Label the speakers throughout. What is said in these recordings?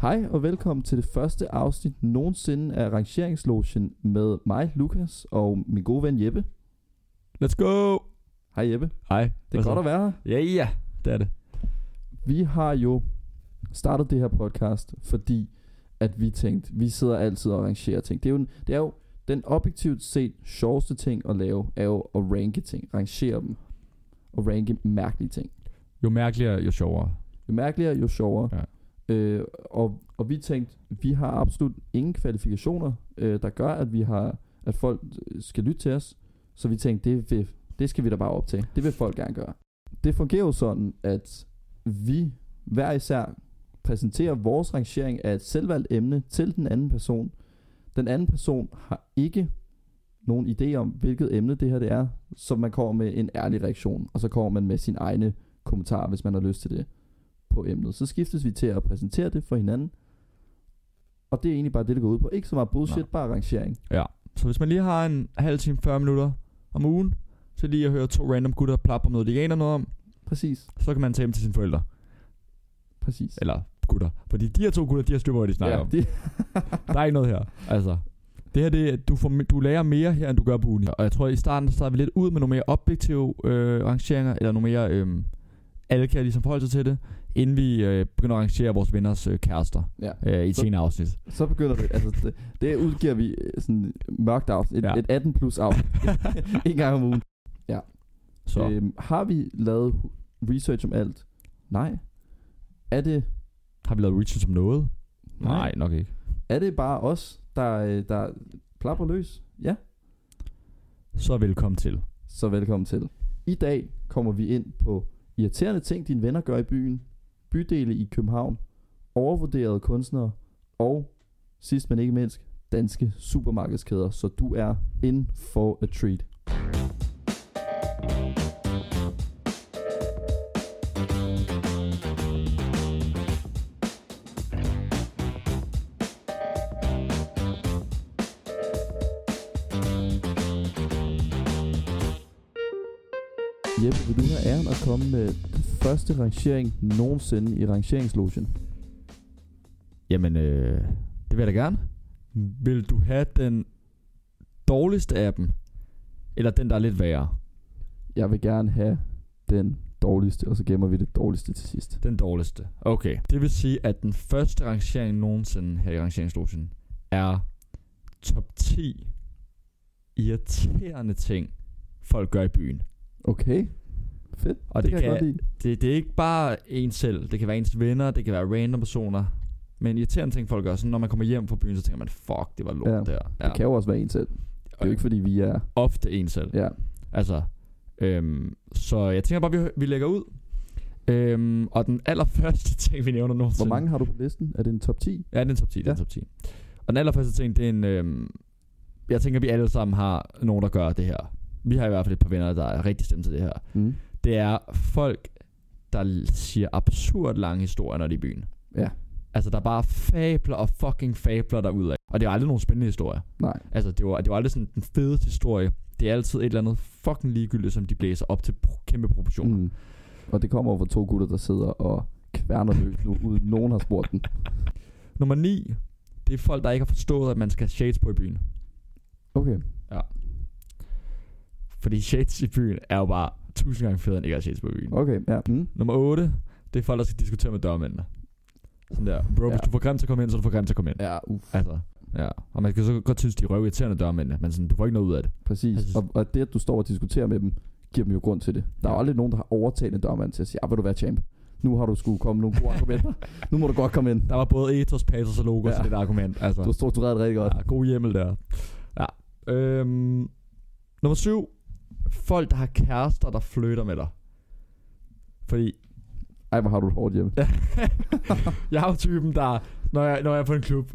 Speaker 1: Hej og velkommen til det første afsnit nogensinde af Rangeringslogen med mig, Lukas, og min gode ven Jeppe.
Speaker 2: Let's go!
Speaker 1: Hej Jeppe, det
Speaker 2: Hej.
Speaker 1: er godt at være her.
Speaker 2: Ja, ja, det er det.
Speaker 1: Vi har jo startet det her podcast, fordi at vi tænkte, vi sidder altid og rangerer ting. Det er jo, en- det er jo den objektivt set sjoveste ting at lave, er jo at ranke ting, rangere dem, og ranke mærkelige ting.
Speaker 2: Jo mærkeligere, jo sjovere.
Speaker 1: Jo mærkeligere, jo sjovere.
Speaker 2: Ja.
Speaker 1: Øh, og, og vi tænkte, vi har absolut ingen kvalifikationer, øh, der gør, at vi har, at folk øh, skal lytte til os. Så vi tænkte, det, vil, det skal vi da bare optage. Det vil folk gerne gøre. Det fungerer jo sådan, at vi hver især præsenterer vores rangering af et selvvalgt emne til den anden person. Den anden person har ikke nogen idé om, hvilket emne det her det er, så man kommer med en ærlig reaktion, og så kommer man med sine egne kommentarer, hvis man har lyst til det på emnet. Så skiftes vi til at præsentere det for hinanden. Og det er egentlig bare det, det går ud på. Ikke så meget bullshit,
Speaker 2: Nej.
Speaker 1: Nej. bare rangering.
Speaker 2: Ja. Så hvis man lige har en halv time, 40 minutter om ugen, så lige at høre to random gutter plappe om noget, de ikke aner noget om,
Speaker 1: Præcis,
Speaker 2: så kan man tage hjem til sine forældre.
Speaker 1: præcis.
Speaker 2: Eller gutter. Fordi de her to gutter, de har styr på, hvad de snakker ja, om.
Speaker 1: det,
Speaker 2: Der er ikke noget her. Altså. Det her, det, er- du, får, du lærer mere her, end du gør på uni. Og jeg tror, i starten så starter vi lidt ud med nogle mere objektive øh, rangeringer, eller nogle mere... Øh, alle kan ligesom forholde sig til det, inden vi øh, begynder at rangere vores venners øh, kærester
Speaker 1: ja.
Speaker 2: øh, i et
Speaker 1: Så-
Speaker 2: senere afsnit.
Speaker 1: Så begynder det. Altså, det, det udgiver vi øh, sådan et mørkt afsnit. Et,
Speaker 2: Ja.
Speaker 1: ja. et 18 plus afsnit. en gang om ugen.
Speaker 2: Så øh,
Speaker 1: Øhm, har vi lavet research om alt? Nej. Er det,
Speaker 2: har vi lavet research om noget?
Speaker 1: Nej.
Speaker 2: Nej, nok ikke.
Speaker 1: er det bare os, der, øh, der plapper løs? Ja.
Speaker 2: Så velkommen til.
Speaker 1: Så velkommen til. I dag kommer vi ind på irriterende ting, dine venner gør i byen, bydele i København, overvurderede kunstnere og sidst men ikke mindst danske supermarkedskæder. Så du er in for a treat. Jeppe, vil du have æren at komme med den første rangering nogensinde i rangeringslogen?
Speaker 2: Jamen, øh, det vil jeg da gerne. Vil du have den dårligste af dem? Eller den, der er lidt værre?
Speaker 1: Jeg vil gerne have den dårligste, og så gemmer vi det dårligste til sidst.
Speaker 2: Den dårligste. Okay. Det vil sige, at den første rangering nogensinde her i rangeringslogen er top 10 irriterende ting, folk gør i byen.
Speaker 1: Okay. Fedt.
Speaker 2: Og det
Speaker 1: det, kan jeg
Speaker 2: kan-
Speaker 1: godt lide.
Speaker 2: Det, det er ikke bare en selv. Det kan være ens venner, det kan være random personer. Men irriterende ting, folk gør. Sådan, når man kommer hjem fra byen, så tænker man, fuck, det var lort
Speaker 1: Ja,
Speaker 2: der. Ja.
Speaker 1: Det kan jo også være en selv. Det er jo ikke fordi, vi er...
Speaker 2: Ofte en selv.
Speaker 1: Ja.
Speaker 2: Altså, øhm, så jeg tænker bare, vi, vi lægger ud. Øhm, og den allerførste ting, vi nævner nu.
Speaker 1: Hvor mange har du på listen? Er det en top 10?
Speaker 2: Ja, det er en top 10. Ja. Det er
Speaker 1: Ja.
Speaker 2: en top 10. Og den allerførste ting, det er en... Øhm, jeg tænker, vi alle sammen har nogen, der gør det her. Vi har i hvert fald et par venner, der er rigtig stemt til det her.
Speaker 1: Mm.
Speaker 2: Det er folk, der l- siger absurd lange historier, når de er i byen.
Speaker 1: Ja.
Speaker 2: Altså, der er bare fabler og fucking fabler derudad. Og det er jo aldrig nogen spændende historier.
Speaker 1: Nej.
Speaker 2: Altså, det var, det var aldrig sådan den fedeste historie. Det er altid et eller andet fucking ligegyldigt, som de blæser op til pro- kæmpe proportioner. Mm.
Speaker 1: Mm. Og det kommer over to gutter, der sidder og kværner løs nu, uden nogen har spurgt den.
Speaker 2: Nummer 9, det er folk, der ikke har forstået, at man skal have shades på i byen.
Speaker 1: Okay.
Speaker 2: Fordi shades i byen er jo bare tusind gange federe, end ikke at have shades på i byen. Okay.
Speaker 1: Okay, ja. Mm.
Speaker 2: Nummer 8, det er folk, der skal diskutere med dørmændene. Sådan der, bro, hvis
Speaker 1: Ja.
Speaker 2: du får grim til at komme ind, så er du får grim til at komme ind.
Speaker 1: Ja, uff.
Speaker 2: Altså, ja. Og man kan så godt synes, de er røvirriterende dørmændene, men sådan, du får ikke noget ud af det.
Speaker 1: Præcis.
Speaker 2: Altså-
Speaker 1: Og, og det, at du står og diskuterer med dem, giver dem jo grund til det. Der er
Speaker 2: Ja.
Speaker 1: jo aldrig nogen, der har overtagende dommeren til at sige, ja, vil du være champ? Nu har du skulle komme nogle gode argumenter. nu må du godt komme ind.
Speaker 2: Der var både ethos, pathos og logos
Speaker 1: Ja.
Speaker 2: ja. i det der argument. Altså,
Speaker 1: Du har struktureret det rigtig godt.
Speaker 2: ja, god hjemmel der. Ja. Øhm, nummer syv. Folk, der har kærester, der flytter med dig. Fordi
Speaker 1: Ej, hvor har du det hårdt hjemme.
Speaker 2: jeg er jo typen, der, når jeg, når jeg er på en klub,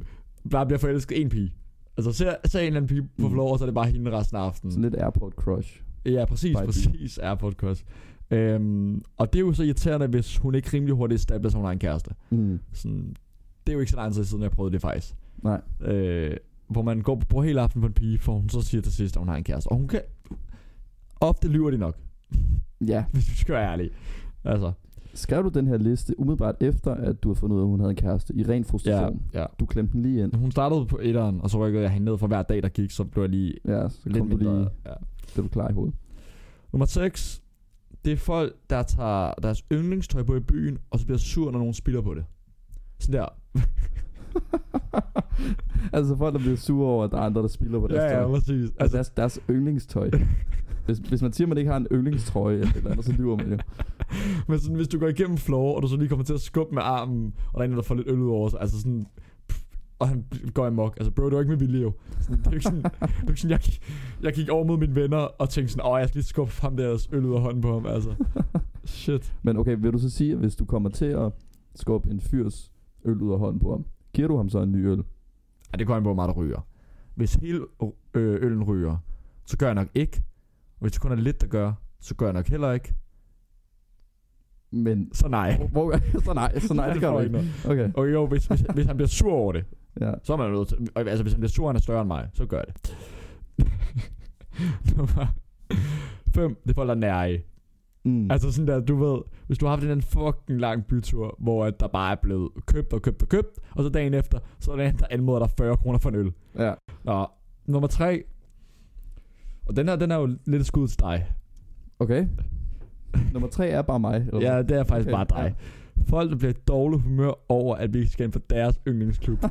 Speaker 2: bare bliver forelsket en pige. Altså, ser, ser en eller anden pige på
Speaker 1: Mm.
Speaker 2: floor, så er det bare hende resten af aftenen.
Speaker 1: Sådan lidt airport crush.
Speaker 2: Ja, præcis,
Speaker 1: Bare i
Speaker 2: præcis er podcast. Øhm, og det er jo så irriterende, hvis hun ikke rimelig hurtigt stabler, som hun har en kæreste.
Speaker 1: Mm.
Speaker 2: Sådan, det er jo ikke så lang tid siden, jeg prøvede det faktisk.
Speaker 1: Nej.
Speaker 2: Øh, hvor man går på hele aften på en pige, for hun så siger til sidst, at hun har en kæreste. Og hun kan... Ofte lyver de nok,
Speaker 1: Ja,
Speaker 2: hvis vi skal være ærlige. Altså,
Speaker 1: Skrev du den her liste umiddelbart efter, at du havde fundet ud af, at hun havde en kæreste i ren frustration? Ja.
Speaker 2: ja. Mm.
Speaker 1: Du klemte den lige ind.
Speaker 2: Hun startede på etteren, og så rykkede jeg hende ned for hver dag, der gik, så blev jeg lige
Speaker 1: Ja, så
Speaker 2: lidt
Speaker 1: kom du
Speaker 2: mindre.
Speaker 1: lige,
Speaker 2: Ja.
Speaker 1: det du klar i hovedet.
Speaker 2: Nummer 6. Det er folk, der tager deres yndlingstøj på i byen, og så bliver sur, når nogen spiller på det. Sådan der.
Speaker 1: Altså folk, der bliver sure over, at der er andre, der spiller på deres tøj.
Speaker 2: præcis.
Speaker 1: Altså, deres, deres yndlingstøj. hvis, hvis man siger, at man ikke har en yndlingstrøje eller et eller andet, så lyver man jo.
Speaker 2: Men sådan, hvis du går igennem floor, og du så lige kommer til at skubbe med armen, og der er en, der får lidt øl ud over sig, altså sådan, pff, og han går amok. Altså, bro, det var ikke med vilje jo. Sådan, det er jo ikke sådan, det er jo ikke sådan jeg, gik- jeg gik over mod mine venner og tænkte sådan, åh, jeg skal lige skubbe ham deres øl ud af hånden på ham, altså. Shit.
Speaker 1: Men okay, vil du så sige, at hvis du kommer til at skubbe en fyrs øl ud af hånden på ham, giver du ham så en ny øl?
Speaker 2: Ja, det går an på, hvor meget der ryger. Hvis hele øh, øllen ryger, så gør jeg nok ikke. Og hvis det kun er lidt, der gør, så gør jeg nok heller ikke.
Speaker 1: Men...
Speaker 2: Så nej.
Speaker 1: Hvor, hvor, så nej, så nej, det gør du ikke. Okay,
Speaker 2: Og jo, hvis, hvis, hvis han bliver sur over det,
Speaker 1: ja.
Speaker 2: Så er man nødt til, og altså hvis han bliver sur, han er større end mig, så gør jeg det. Nummer 5, det er folk, der er nære
Speaker 1: Mm.
Speaker 2: Altså sådan der, du ved, hvis du har haft en eller anden fucking lang bytur, hvor at der bare er blevet købt og købt og købt, og så dagen efter, så er der en, der anmoder dig 40 kroner for en øl.
Speaker 1: ja.
Speaker 2: Nå, nummer 3. Og den her, den er jo lidt et skud til dig.
Speaker 1: Okay. Nummer tre er bare mig. Eller
Speaker 2: Ja,
Speaker 1: hvad?
Speaker 2: det er faktisk
Speaker 1: Okay,
Speaker 2: bare dig. Folk, der bliver i dårlig humør over, at vi ikke skal ind på deres yndlingsklub.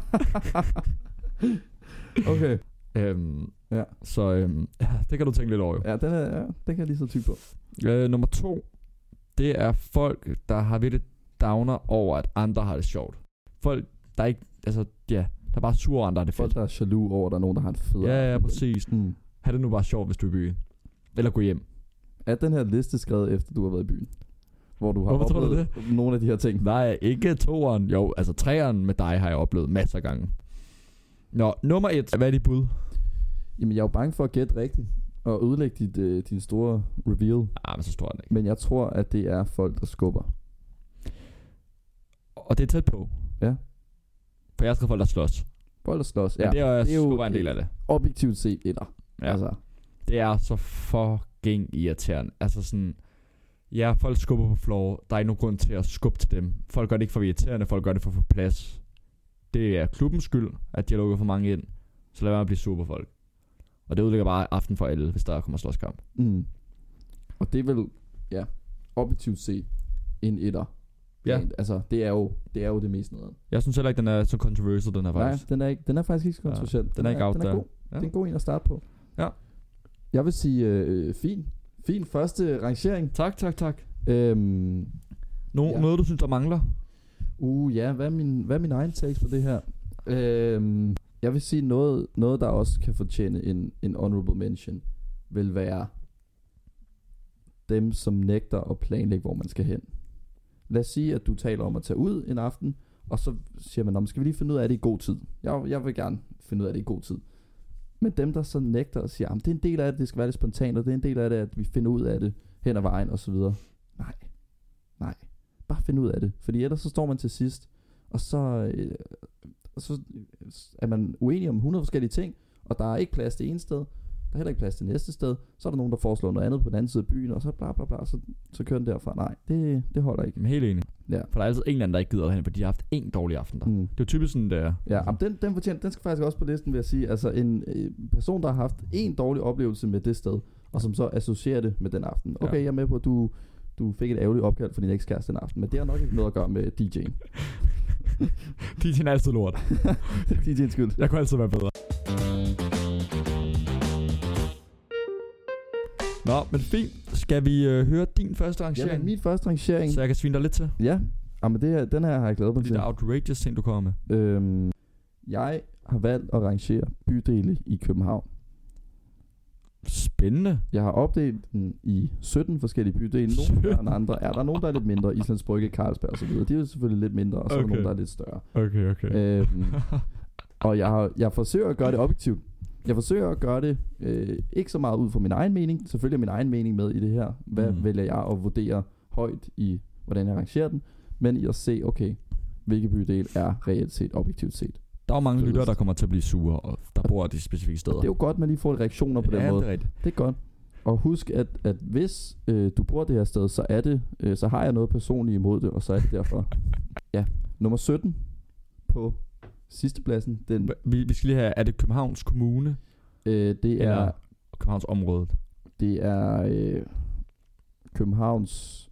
Speaker 1: Okay.
Speaker 2: øhm,
Speaker 1: Ja.
Speaker 2: Så øhm, ja, det kan du tænke lidt over jo.
Speaker 1: Ja, den, er, ja, den kan jeg lige så tykke på.
Speaker 2: Øh, nummer to, det er folk, der har virkelig downer over, at andre har det sjovt. Folk, der ikke, altså, ja, der er bare sure over, andre har det
Speaker 1: Folk,
Speaker 2: fedt.
Speaker 1: der er jaloux over, at der er nogen, der har en federe.
Speaker 2: Ja, ja, præcis.
Speaker 1: Mm.
Speaker 2: Ha' det nu bare sjovt, hvis du er i byen. Eller gå hjem.
Speaker 1: Er den her liste skrevet efter, du har været i byen? Hvor du har
Speaker 2: Hvorfor tror du
Speaker 1: oplevet nogle af de her ting.
Speaker 2: Nej, ikke toeren. Jo, altså treeren med dig har jeg oplevet masser af gange. Nå, nummer et. Hvad er dit bud?
Speaker 1: Jamen, jeg er jo bange for at gætte rigtigt og ødelægge dit, øh, din store reveal.
Speaker 2: Ah, men så står den ikke.
Speaker 1: Men jeg tror, at det er folk, der skubber.
Speaker 2: Og det er tæt på.
Speaker 1: Ja.
Speaker 2: For jeg skal folk, der slås.
Speaker 1: Folk, der slås.
Speaker 2: Ja,
Speaker 1: Ja,
Speaker 2: det er,
Speaker 1: det er jo-
Speaker 2: jo bare en del af det.
Speaker 1: objektivt set etter. Ja. Altså,
Speaker 2: Det er så fucking irriterende. Altså sådan, ja, folk skubber på floor. Der er ikke nogen grund til at skubbe til dem. Folk gør det ikke for at være irriterende, folk gør det for at få plads. Det er klubbens skyld, at de har lukket for mange ind. Så lad være med at blive sur på folk. Og det udlægger bare aften for alle, hvis der kommer slåskamp.
Speaker 1: mm. Og det er vel, ja, objektivt set en etter.
Speaker 2: Ja.
Speaker 1: Men, Altså, det er jo det, er jo det mest nederen.
Speaker 2: Jeg synes heller ikke, den er så controversial, den her
Speaker 1: Nej,
Speaker 2: faktisk.
Speaker 1: den er, ikke, den er faktisk ikke så
Speaker 2: Ja,
Speaker 1: kontroversiel.
Speaker 2: den er ikke out
Speaker 1: den er
Speaker 2: there.
Speaker 1: god.
Speaker 2: Ja.
Speaker 1: Det er en god en at starte på.
Speaker 2: Ja.
Speaker 1: Jeg vil sige, øh, fin. Fin første rangering.
Speaker 2: Tak, tak, tak.
Speaker 1: Øhm,
Speaker 2: Nogen
Speaker 1: Ja.
Speaker 2: ja. noget, du synes, der mangler?
Speaker 1: Uh, ja, hvad er min, hvad er min egen takes på det her? Øhm, jeg vil sige, noget, noget der også kan fortjene en, en honorable mention, vil være dem, som nægter at planlægge, hvor man skal hen. Lad os sige, at du taler om at tage ud en aften, og så siger man, om skal vi lige finde ud af det i god tid? Jeg, jeg vil gerne finde ud af det i god tid. Men dem, der så nægter og siger, at det er en del af det, det skal være lidt spontant, og det er en del af det, at vi finder ud af det hen ad vejen osv. Nej, nej. Bare find ud af det. Fordi ellers så står man til sidst, og så, øh, og så er man uenig om 100 forskellige ting, og der er ikke plads det ene sted, der er heller ikke plads det næste sted, så er der nogen, der foreslår noget andet på den anden side af byen, og så bla bla bla, så, så kører den derfra. Nej, det, det holder ikke.
Speaker 2: Helt enig.
Speaker 1: Ja.
Speaker 2: For der er altid en eller anden, der ikke gider hen, fordi de har haft en dårlig aften der. Mm.
Speaker 1: Mm.
Speaker 2: Det er jo typisk sådan, det er.
Speaker 1: Ja, jamen, den, den, fortjener, den skal faktisk også på listen, vil jeg sige. Altså en øh, person, der har haft en dårlig oplevelse med det sted, og som så associerer det med den aften. Okay,
Speaker 2: Ja.
Speaker 1: jeg er med på, at du, du fik et ærgerligt opkald for din ekskæreste den aften, men det har nok ikke noget at gøre med DJ'en.
Speaker 2: DJ'en er altid lort.
Speaker 1: DJ'ens skyld.
Speaker 2: Jeg kunne altid være bedre. Nå, men fint. Skal vi øh, høre din første
Speaker 1: Jamen,
Speaker 2: rangering?
Speaker 1: min første rangering,
Speaker 2: så jeg kan svine dig lidt til.
Speaker 1: Ja, ah, men det her, den her har jeg glædet mig
Speaker 2: Fordi
Speaker 1: til.
Speaker 2: der er outrageous ting, du kommer med.
Speaker 1: Øhm, jeg har valgt at rangere bydele i København.
Speaker 2: Spændende.
Speaker 1: Jeg har opdelt den i 17 forskellige bydele. Nogle større end andre er. Der er nogle, der er lidt mindre. Islands Brygge, Carlsberg osv. De er jo selvfølgelig lidt mindre, og så okay. er der
Speaker 2: Okay.
Speaker 1: nogle, der er lidt større.
Speaker 2: Okay, okay.
Speaker 1: Øhm, og jeg, har, jeg forsøger at gøre det objektivt. Jeg forsøger at gøre det øh, ikke så meget ud fra min egen mening. Selvfølgelig er min egen mening med i det her. Hvad mm.
Speaker 2: Mm.
Speaker 1: vælger jeg at vurdere højt i, hvordan jeg rangerer den? Men i at se, okay, hvilke bydel er reelt set, objektivt set.
Speaker 2: Der er jo mange
Speaker 1: fedest.
Speaker 2: lyttere, der kommer til at blive sure, og der bor de specifikke steder.
Speaker 1: Det er jo godt, man lige får reaktioner på den
Speaker 2: ja,
Speaker 1: måde.
Speaker 2: det er rigtigt.
Speaker 1: Det er godt. og husk, at, at hvis øh, du bor det her sted, så er det, øh, så har jeg noget personligt imod det, og så er det derfor. ja, nummer 17 på sidste pladsen, den,
Speaker 2: Vi, vi skal lige have, er det Københavns Kommune
Speaker 1: øh, det
Speaker 2: Eller-
Speaker 1: er,
Speaker 2: og Københavns område?
Speaker 1: det er øh, Københavns,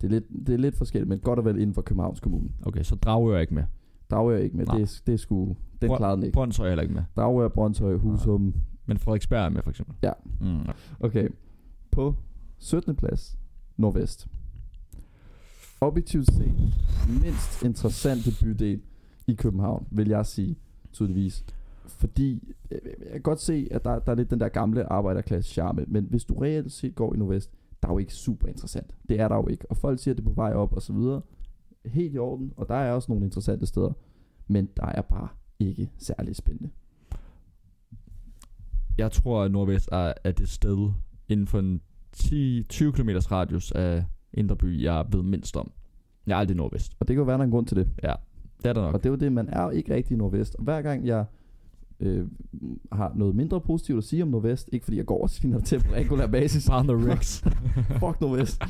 Speaker 1: det er, lidt, det er lidt forskelligt, men godt og vel inden for Københavns Kommune.
Speaker 2: Okay, så Dragør er ikke med.
Speaker 1: Dragør ikke med,
Speaker 2: Nej.
Speaker 1: det, er- det er sgu, den
Speaker 2: Brøn-
Speaker 1: klarede den ikke.
Speaker 2: Brøndshøj er heller ikke med.
Speaker 1: Dragør, Brøndshøj, Husum.
Speaker 2: Men Frederiksberg er med, for eksempel.
Speaker 1: Ja.
Speaker 2: Mm.
Speaker 1: Okay, på 17. plads, Nordvest. Objektivt set, mindst interessante bydel i København, vil jeg sige, tydeligvis. Fordi, øh, jeg kan godt se, at der, der er lidt den der gamle arbejderklasse charme, men hvis du reelt set går i Nordvest, der er jo ikke super interessant. Det er der jo ikke, og folk siger, at det er på vej op og så videre. Helt i orden, og der er også nogle interessante steder, men der er bare ikke særlig spændende.
Speaker 2: Jeg tror, at Nordvest er, er det sted inden for en 10-20 km radius af Indre By, jeg ved mindst om. Jeg er aldrig i Nordvest.
Speaker 1: Og det kan jo være, der er en grund til det.
Speaker 2: Det er der nok.
Speaker 1: Og det er jo det, man er jo ikke rigtig i Nordvest. Og hver gang jeg øh, har noget mindre positivt at sige om Nordvest, ikke fordi jeg går og sviner til på regulær basis,
Speaker 2: Bare the Rex.
Speaker 1: fuck Nordvest,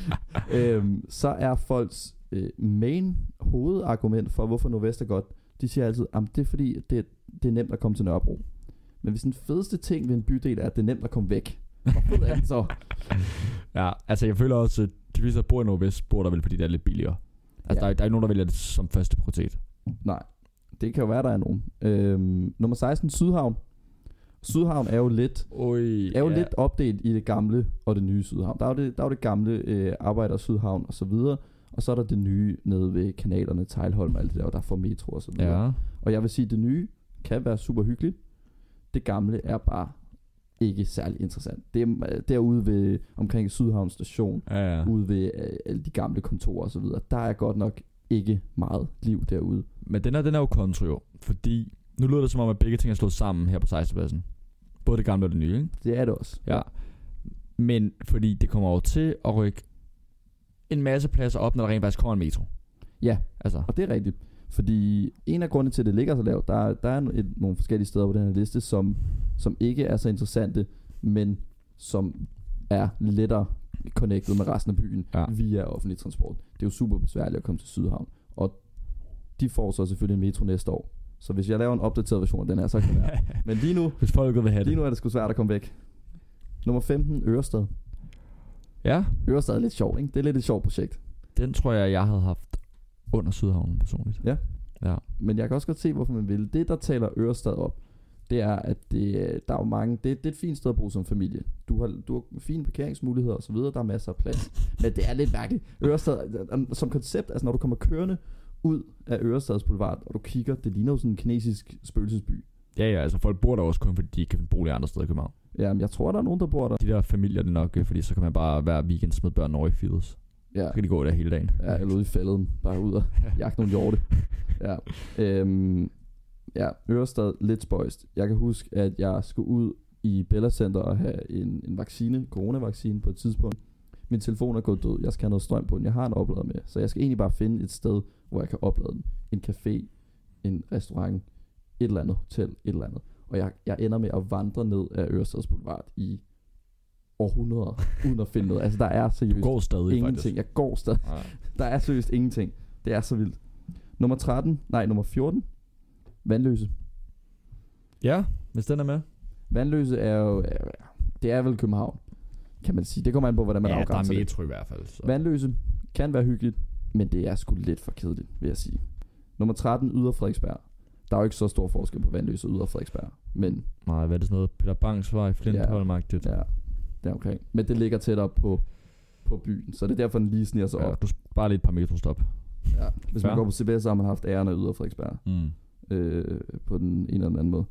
Speaker 1: øhm, så er folks øh, main hovedargument for, hvorfor Nordvest er godt, de siger altid, at det er fordi, det, det er nemt at komme til Nørrebro. Men hvis den fedeste ting ved en bydel er, at det er nemt at komme væk, hvor fed er den så?
Speaker 2: ja, altså jeg føler også, at de fleste, der bor i Nordvest, bor der vel, fordi det er lidt billigere. Altså
Speaker 1: Ja.
Speaker 2: ja. der, er, der er ikke nogen, der vælger det som første prioritet.
Speaker 1: Det kan jo være, der er nogen. Øhm, nummer 16, Sydhavn. Sydhavn er jo lidt
Speaker 2: Oj,
Speaker 1: er jo ja. lidt opdelt i det gamle og det nye Sydhavn. Der er jo det, der er jo det gamle øh, arbejder Sydhavn og så videre, og så er der det nye nede ved kanalerne, Tejlholm og alt det der, og der får metro og så videre.
Speaker 2: Ja.
Speaker 1: Og jeg vil sige, at det nye kan være super hyggeligt. Det gamle er bare ikke særlig interessant. Det er øh, derude ved, omkring Sydhavn station,
Speaker 2: Ja, ja.
Speaker 1: ja. ude ved øh, alle de gamle kontorer og så videre, der er godt nok ikke meget liv derude.
Speaker 2: Men den her, den er jo kontra jo, fordi nu lyder det som om, at begge ting er slået sammen her på 16. pladsen. Både det gamle og det nye, ikke?
Speaker 1: Det er det også.
Speaker 2: Ja. Men fordi det kommer over til at rykke en masse pladser op, når der rent faktisk kommer en metro.
Speaker 1: Ja.
Speaker 2: Altså,
Speaker 1: Og det er rigtigt. Fordi en af grundene til, at det ligger så lavt, der, er- der er et, nogle forskellige steder på den her liste, som, som ikke er så interessante, men som er lettere connected med resten af byen
Speaker 2: Ja.
Speaker 1: ja. via offentlig transport. Det er jo super besværligt at komme til Sydhavn. Og de får så selvfølgelig en metro næste år. Så hvis jeg laver en opdateret version af den her, så kan det være. Men lige nu,
Speaker 2: hvis folk vil have
Speaker 1: lige
Speaker 2: det.
Speaker 1: nu er det sgu svært at komme væk. Nummer 15, Ørestad.
Speaker 2: Ja,
Speaker 1: Ørestad er lidt sjovt, ikke? Det er lidt et sjovt projekt.
Speaker 2: den tror jeg, jeg havde haft under Sydhavnen personligt.
Speaker 1: Men jeg kan også godt se, hvorfor man vil. Det, der taler Ørestad op, det er, at det, der er jo mange... Det, det er et fint sted at bruge som familie. Du har, du har fine parkeringsmuligheder osv., der er masser af plads. Men det er lidt mærkeligt. Ørestad, øh, som koncept, altså når du kommer kørende ud af Ørestads Boulevard, og du kigger, det ligner jo sådan en kinesisk spøgelsesby.
Speaker 2: Ja, ja, altså folk bor der også kun, fordi de ikke kan finde bolig andre steder i København.
Speaker 1: Jamen, jeg tror, der er nogen, der bor der.
Speaker 2: De der familier, det er nok, øh, fordi så kan man bare hver weekend smide børn over i fields.
Speaker 1: Ja,
Speaker 2: Så kan de gå der hele dagen.
Speaker 1: ja eller ude i fælden, bare ud og jagte nogle hjorte. Ja. Øhm, ja, Ørestad, lidt spøjst. Jeg kan huske, at jeg skulle ud i Bella Center og have en, en vaccine, coronavaccine på et tidspunkt. Min telefon er gået død, jeg skal have noget strøm på den, jeg har en oplader med. Så jeg skal egentlig bare finde et sted, hvor jeg kan oplade den. En café, en restaurant, et eller andet hotel, et eller andet. Og jeg, jeg ender med at vandre ned af Ørestads Boulevard i århundreder, uden at finde noget. Altså der er
Speaker 2: Du
Speaker 1: seriøst
Speaker 2: går stadig
Speaker 1: ingenting. Jeg går stadig
Speaker 2: faktisk.
Speaker 1: der er seriøst ingenting. Det er så vildt. Nummer 13, nej, nummer 14. Vandløse.
Speaker 2: Ja, hvis den er med.
Speaker 1: Vandløse er jo, er- det er vel København, kan man sige. Det kommer an på, hvordan man
Speaker 2: ja, der
Speaker 1: afgrænser
Speaker 2: er
Speaker 1: det.
Speaker 2: metro i hvert fald. Så.
Speaker 1: Vandløse kan være hyggeligt, men det er sgu lidt for kedeligt, vil jeg sige. Nummer 13, Yder Frederiksberg. Der er jo ikke så stor forskel på Vandløse og Yder Frederiksberg, men
Speaker 2: Nej, hvad er det sådan noget? Peter Bangs vej, Flintholm-agtigt.
Speaker 1: ja, det er okay. Men det ligger tættere på, på byen, så det er derfor, den lige sniger sig
Speaker 2: Ja,
Speaker 1: op.
Speaker 2: du sparer lige et par metrostop.
Speaker 1: Ja. Hvis man
Speaker 2: Fair.
Speaker 1: går på CBS, så har man haft æren af Yder Frederiksberg
Speaker 2: Mm.
Speaker 1: øh, på den ene eller den anden måde.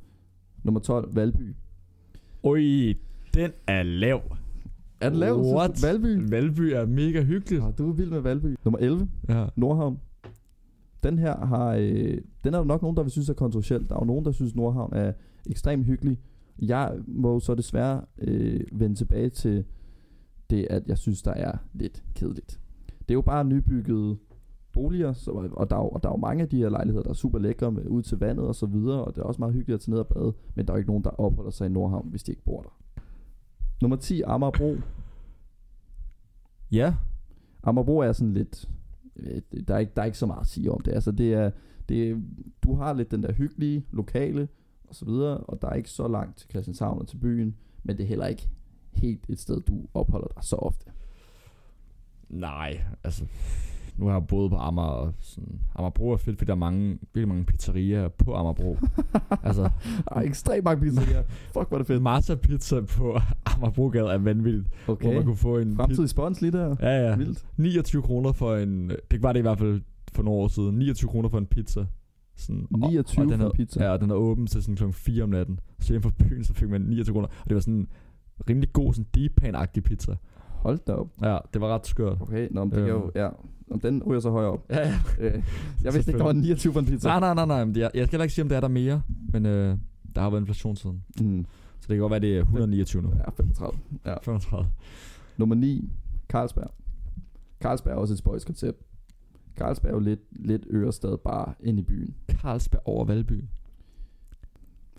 Speaker 1: Nummer 12, Valby.
Speaker 2: Oj, den er lav.
Speaker 1: Er det lavt?
Speaker 2: What?
Speaker 1: Synes du, Valby?
Speaker 2: Valby er mega hyggeligt.
Speaker 1: Ja, du er vild med Valby. Nummer 11,
Speaker 2: Ja.
Speaker 1: Nordhavn. Den her har, øh, den er der nok nogen, der vil synes er kontroversiel. Der er jo nogen, der synes, Nordhavn er ekstremt hyggelig. Jeg må så desværre øh, vende tilbage til det, at jeg synes, der er lidt kedeligt. Det er jo bare nybyggede boliger, så, og, der er, jo- og der er jo mange af de her lejligheder, der er super lækre med ud til vandet og så videre, og det er også meget hyggeligt at tage ned og bade, men der er jo ikke nogen, der opholder sig i Nordhavn, hvis de ikke bor der. Nummer 10, Amagerbro.
Speaker 2: Ja.
Speaker 1: Amagerbro er sådan lidt... øh, Der er, ikke, der er ikke så meget at sige om det. Altså, det er, det er, du har lidt den der hyggelige, lokale og så videre, og der er ikke så langt til Christianshavn og til byen, men det er heller ikke helt et sted, du opholder dig så ofte.
Speaker 2: Nej, altså... Nu har jeg boet på Amager, og sådan, Amagerbro er fedt, fordi der er mange, virkelig mange pizzerier på Amagerbro. altså,
Speaker 1: Der er ekstremt mange pizzerier. Fuck, hvor er det fedt.
Speaker 2: Martha Pizza på Amagerbrogade er vanvittigt. Okay. Hvor man
Speaker 1: Okay.
Speaker 2: kunne få en pizza.
Speaker 1: Fremtidig spons lige der.
Speaker 2: Ja, ja.
Speaker 1: Vildt.
Speaker 2: 29 kroner for en... Det var det i hvert fald for nogle år siden. 29 kroner for en pizza. Sådan, og-
Speaker 1: 29
Speaker 2: og den
Speaker 1: for
Speaker 2: er,
Speaker 1: en pizza.
Speaker 2: Ja, og den er åben til sådan kl. 4 om natten. Så inden for byen, så fik man 29 kroner. Og det var sådan en rimelig god, sådan deep pan-agtig pizza.
Speaker 1: Hold da op.
Speaker 2: Ja, det var ret skørt.
Speaker 1: Okay, nå, men det
Speaker 2: Øh.
Speaker 1: kan jo... Ja. Om den ryger så højere op.
Speaker 2: Ja, ja.
Speaker 1: Øh, jeg vidste ikke, der var 29 for en pizza.
Speaker 2: Nej, nej, nej, nej. Men det er, jeg skal heller ikke sige, om det er der mere. Men øh, der har været inflation siden.
Speaker 1: Mm.
Speaker 2: Så det kan godt være, det er 129 nu.
Speaker 1: Ja, 35.
Speaker 2: 35.
Speaker 1: Nummer 9, Carlsberg. Carlsberg er også et spøjs koncept. Carlsberg er jo lidt, lidt Ørestad bare ind i byen.
Speaker 2: Carlsberg over Valby.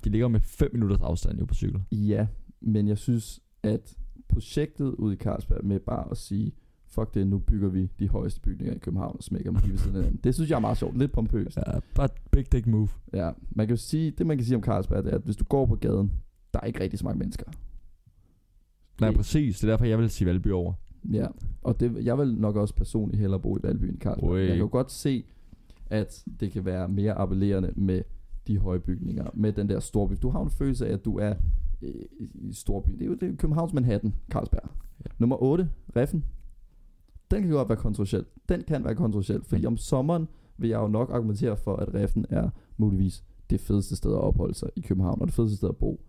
Speaker 2: De ligger med 5 minutters afstand jo på cykel.
Speaker 1: Ja, men jeg synes, at projektet ude i Carlsberg med bare at sige, fuck det, nu bygger vi de højeste bygninger i København og smækker dem lige ved siden af hinanden. Det synes jeg er meget sjovt, lidt pompøst.
Speaker 2: Ja, bare et big dick move.
Speaker 1: Ja, man kan jo sige, det man kan sige om Carlsberg, det er, at hvis du går på gaden, der er ikke rigtig så mange mennesker.
Speaker 2: Nej,
Speaker 1: Det-
Speaker 2: præcis. Det er derfor, jeg vil sige Valby over.
Speaker 1: Ja, og det, jeg vil nok også personligt hellere bo i Valby end Carlsberg.
Speaker 2: Ui.
Speaker 1: Jeg kan jo godt se, at det kan være mere appellerende med de høje bygninger, med den der storby. Du har jo en følelse af, at du er øh, i storby. Det er jo det er Københavns Manhattan, Carlsberg.
Speaker 2: Ja.
Speaker 1: Ja. Nummer 8, Reffen. Den kan godt være kontroversiel. Den kan være kontroversiel, fordi om sommeren vil jeg jo nok argumentere for, at Reffen er muligvis det fedeste sted at opholde sig i København, og det fedeste sted at bo.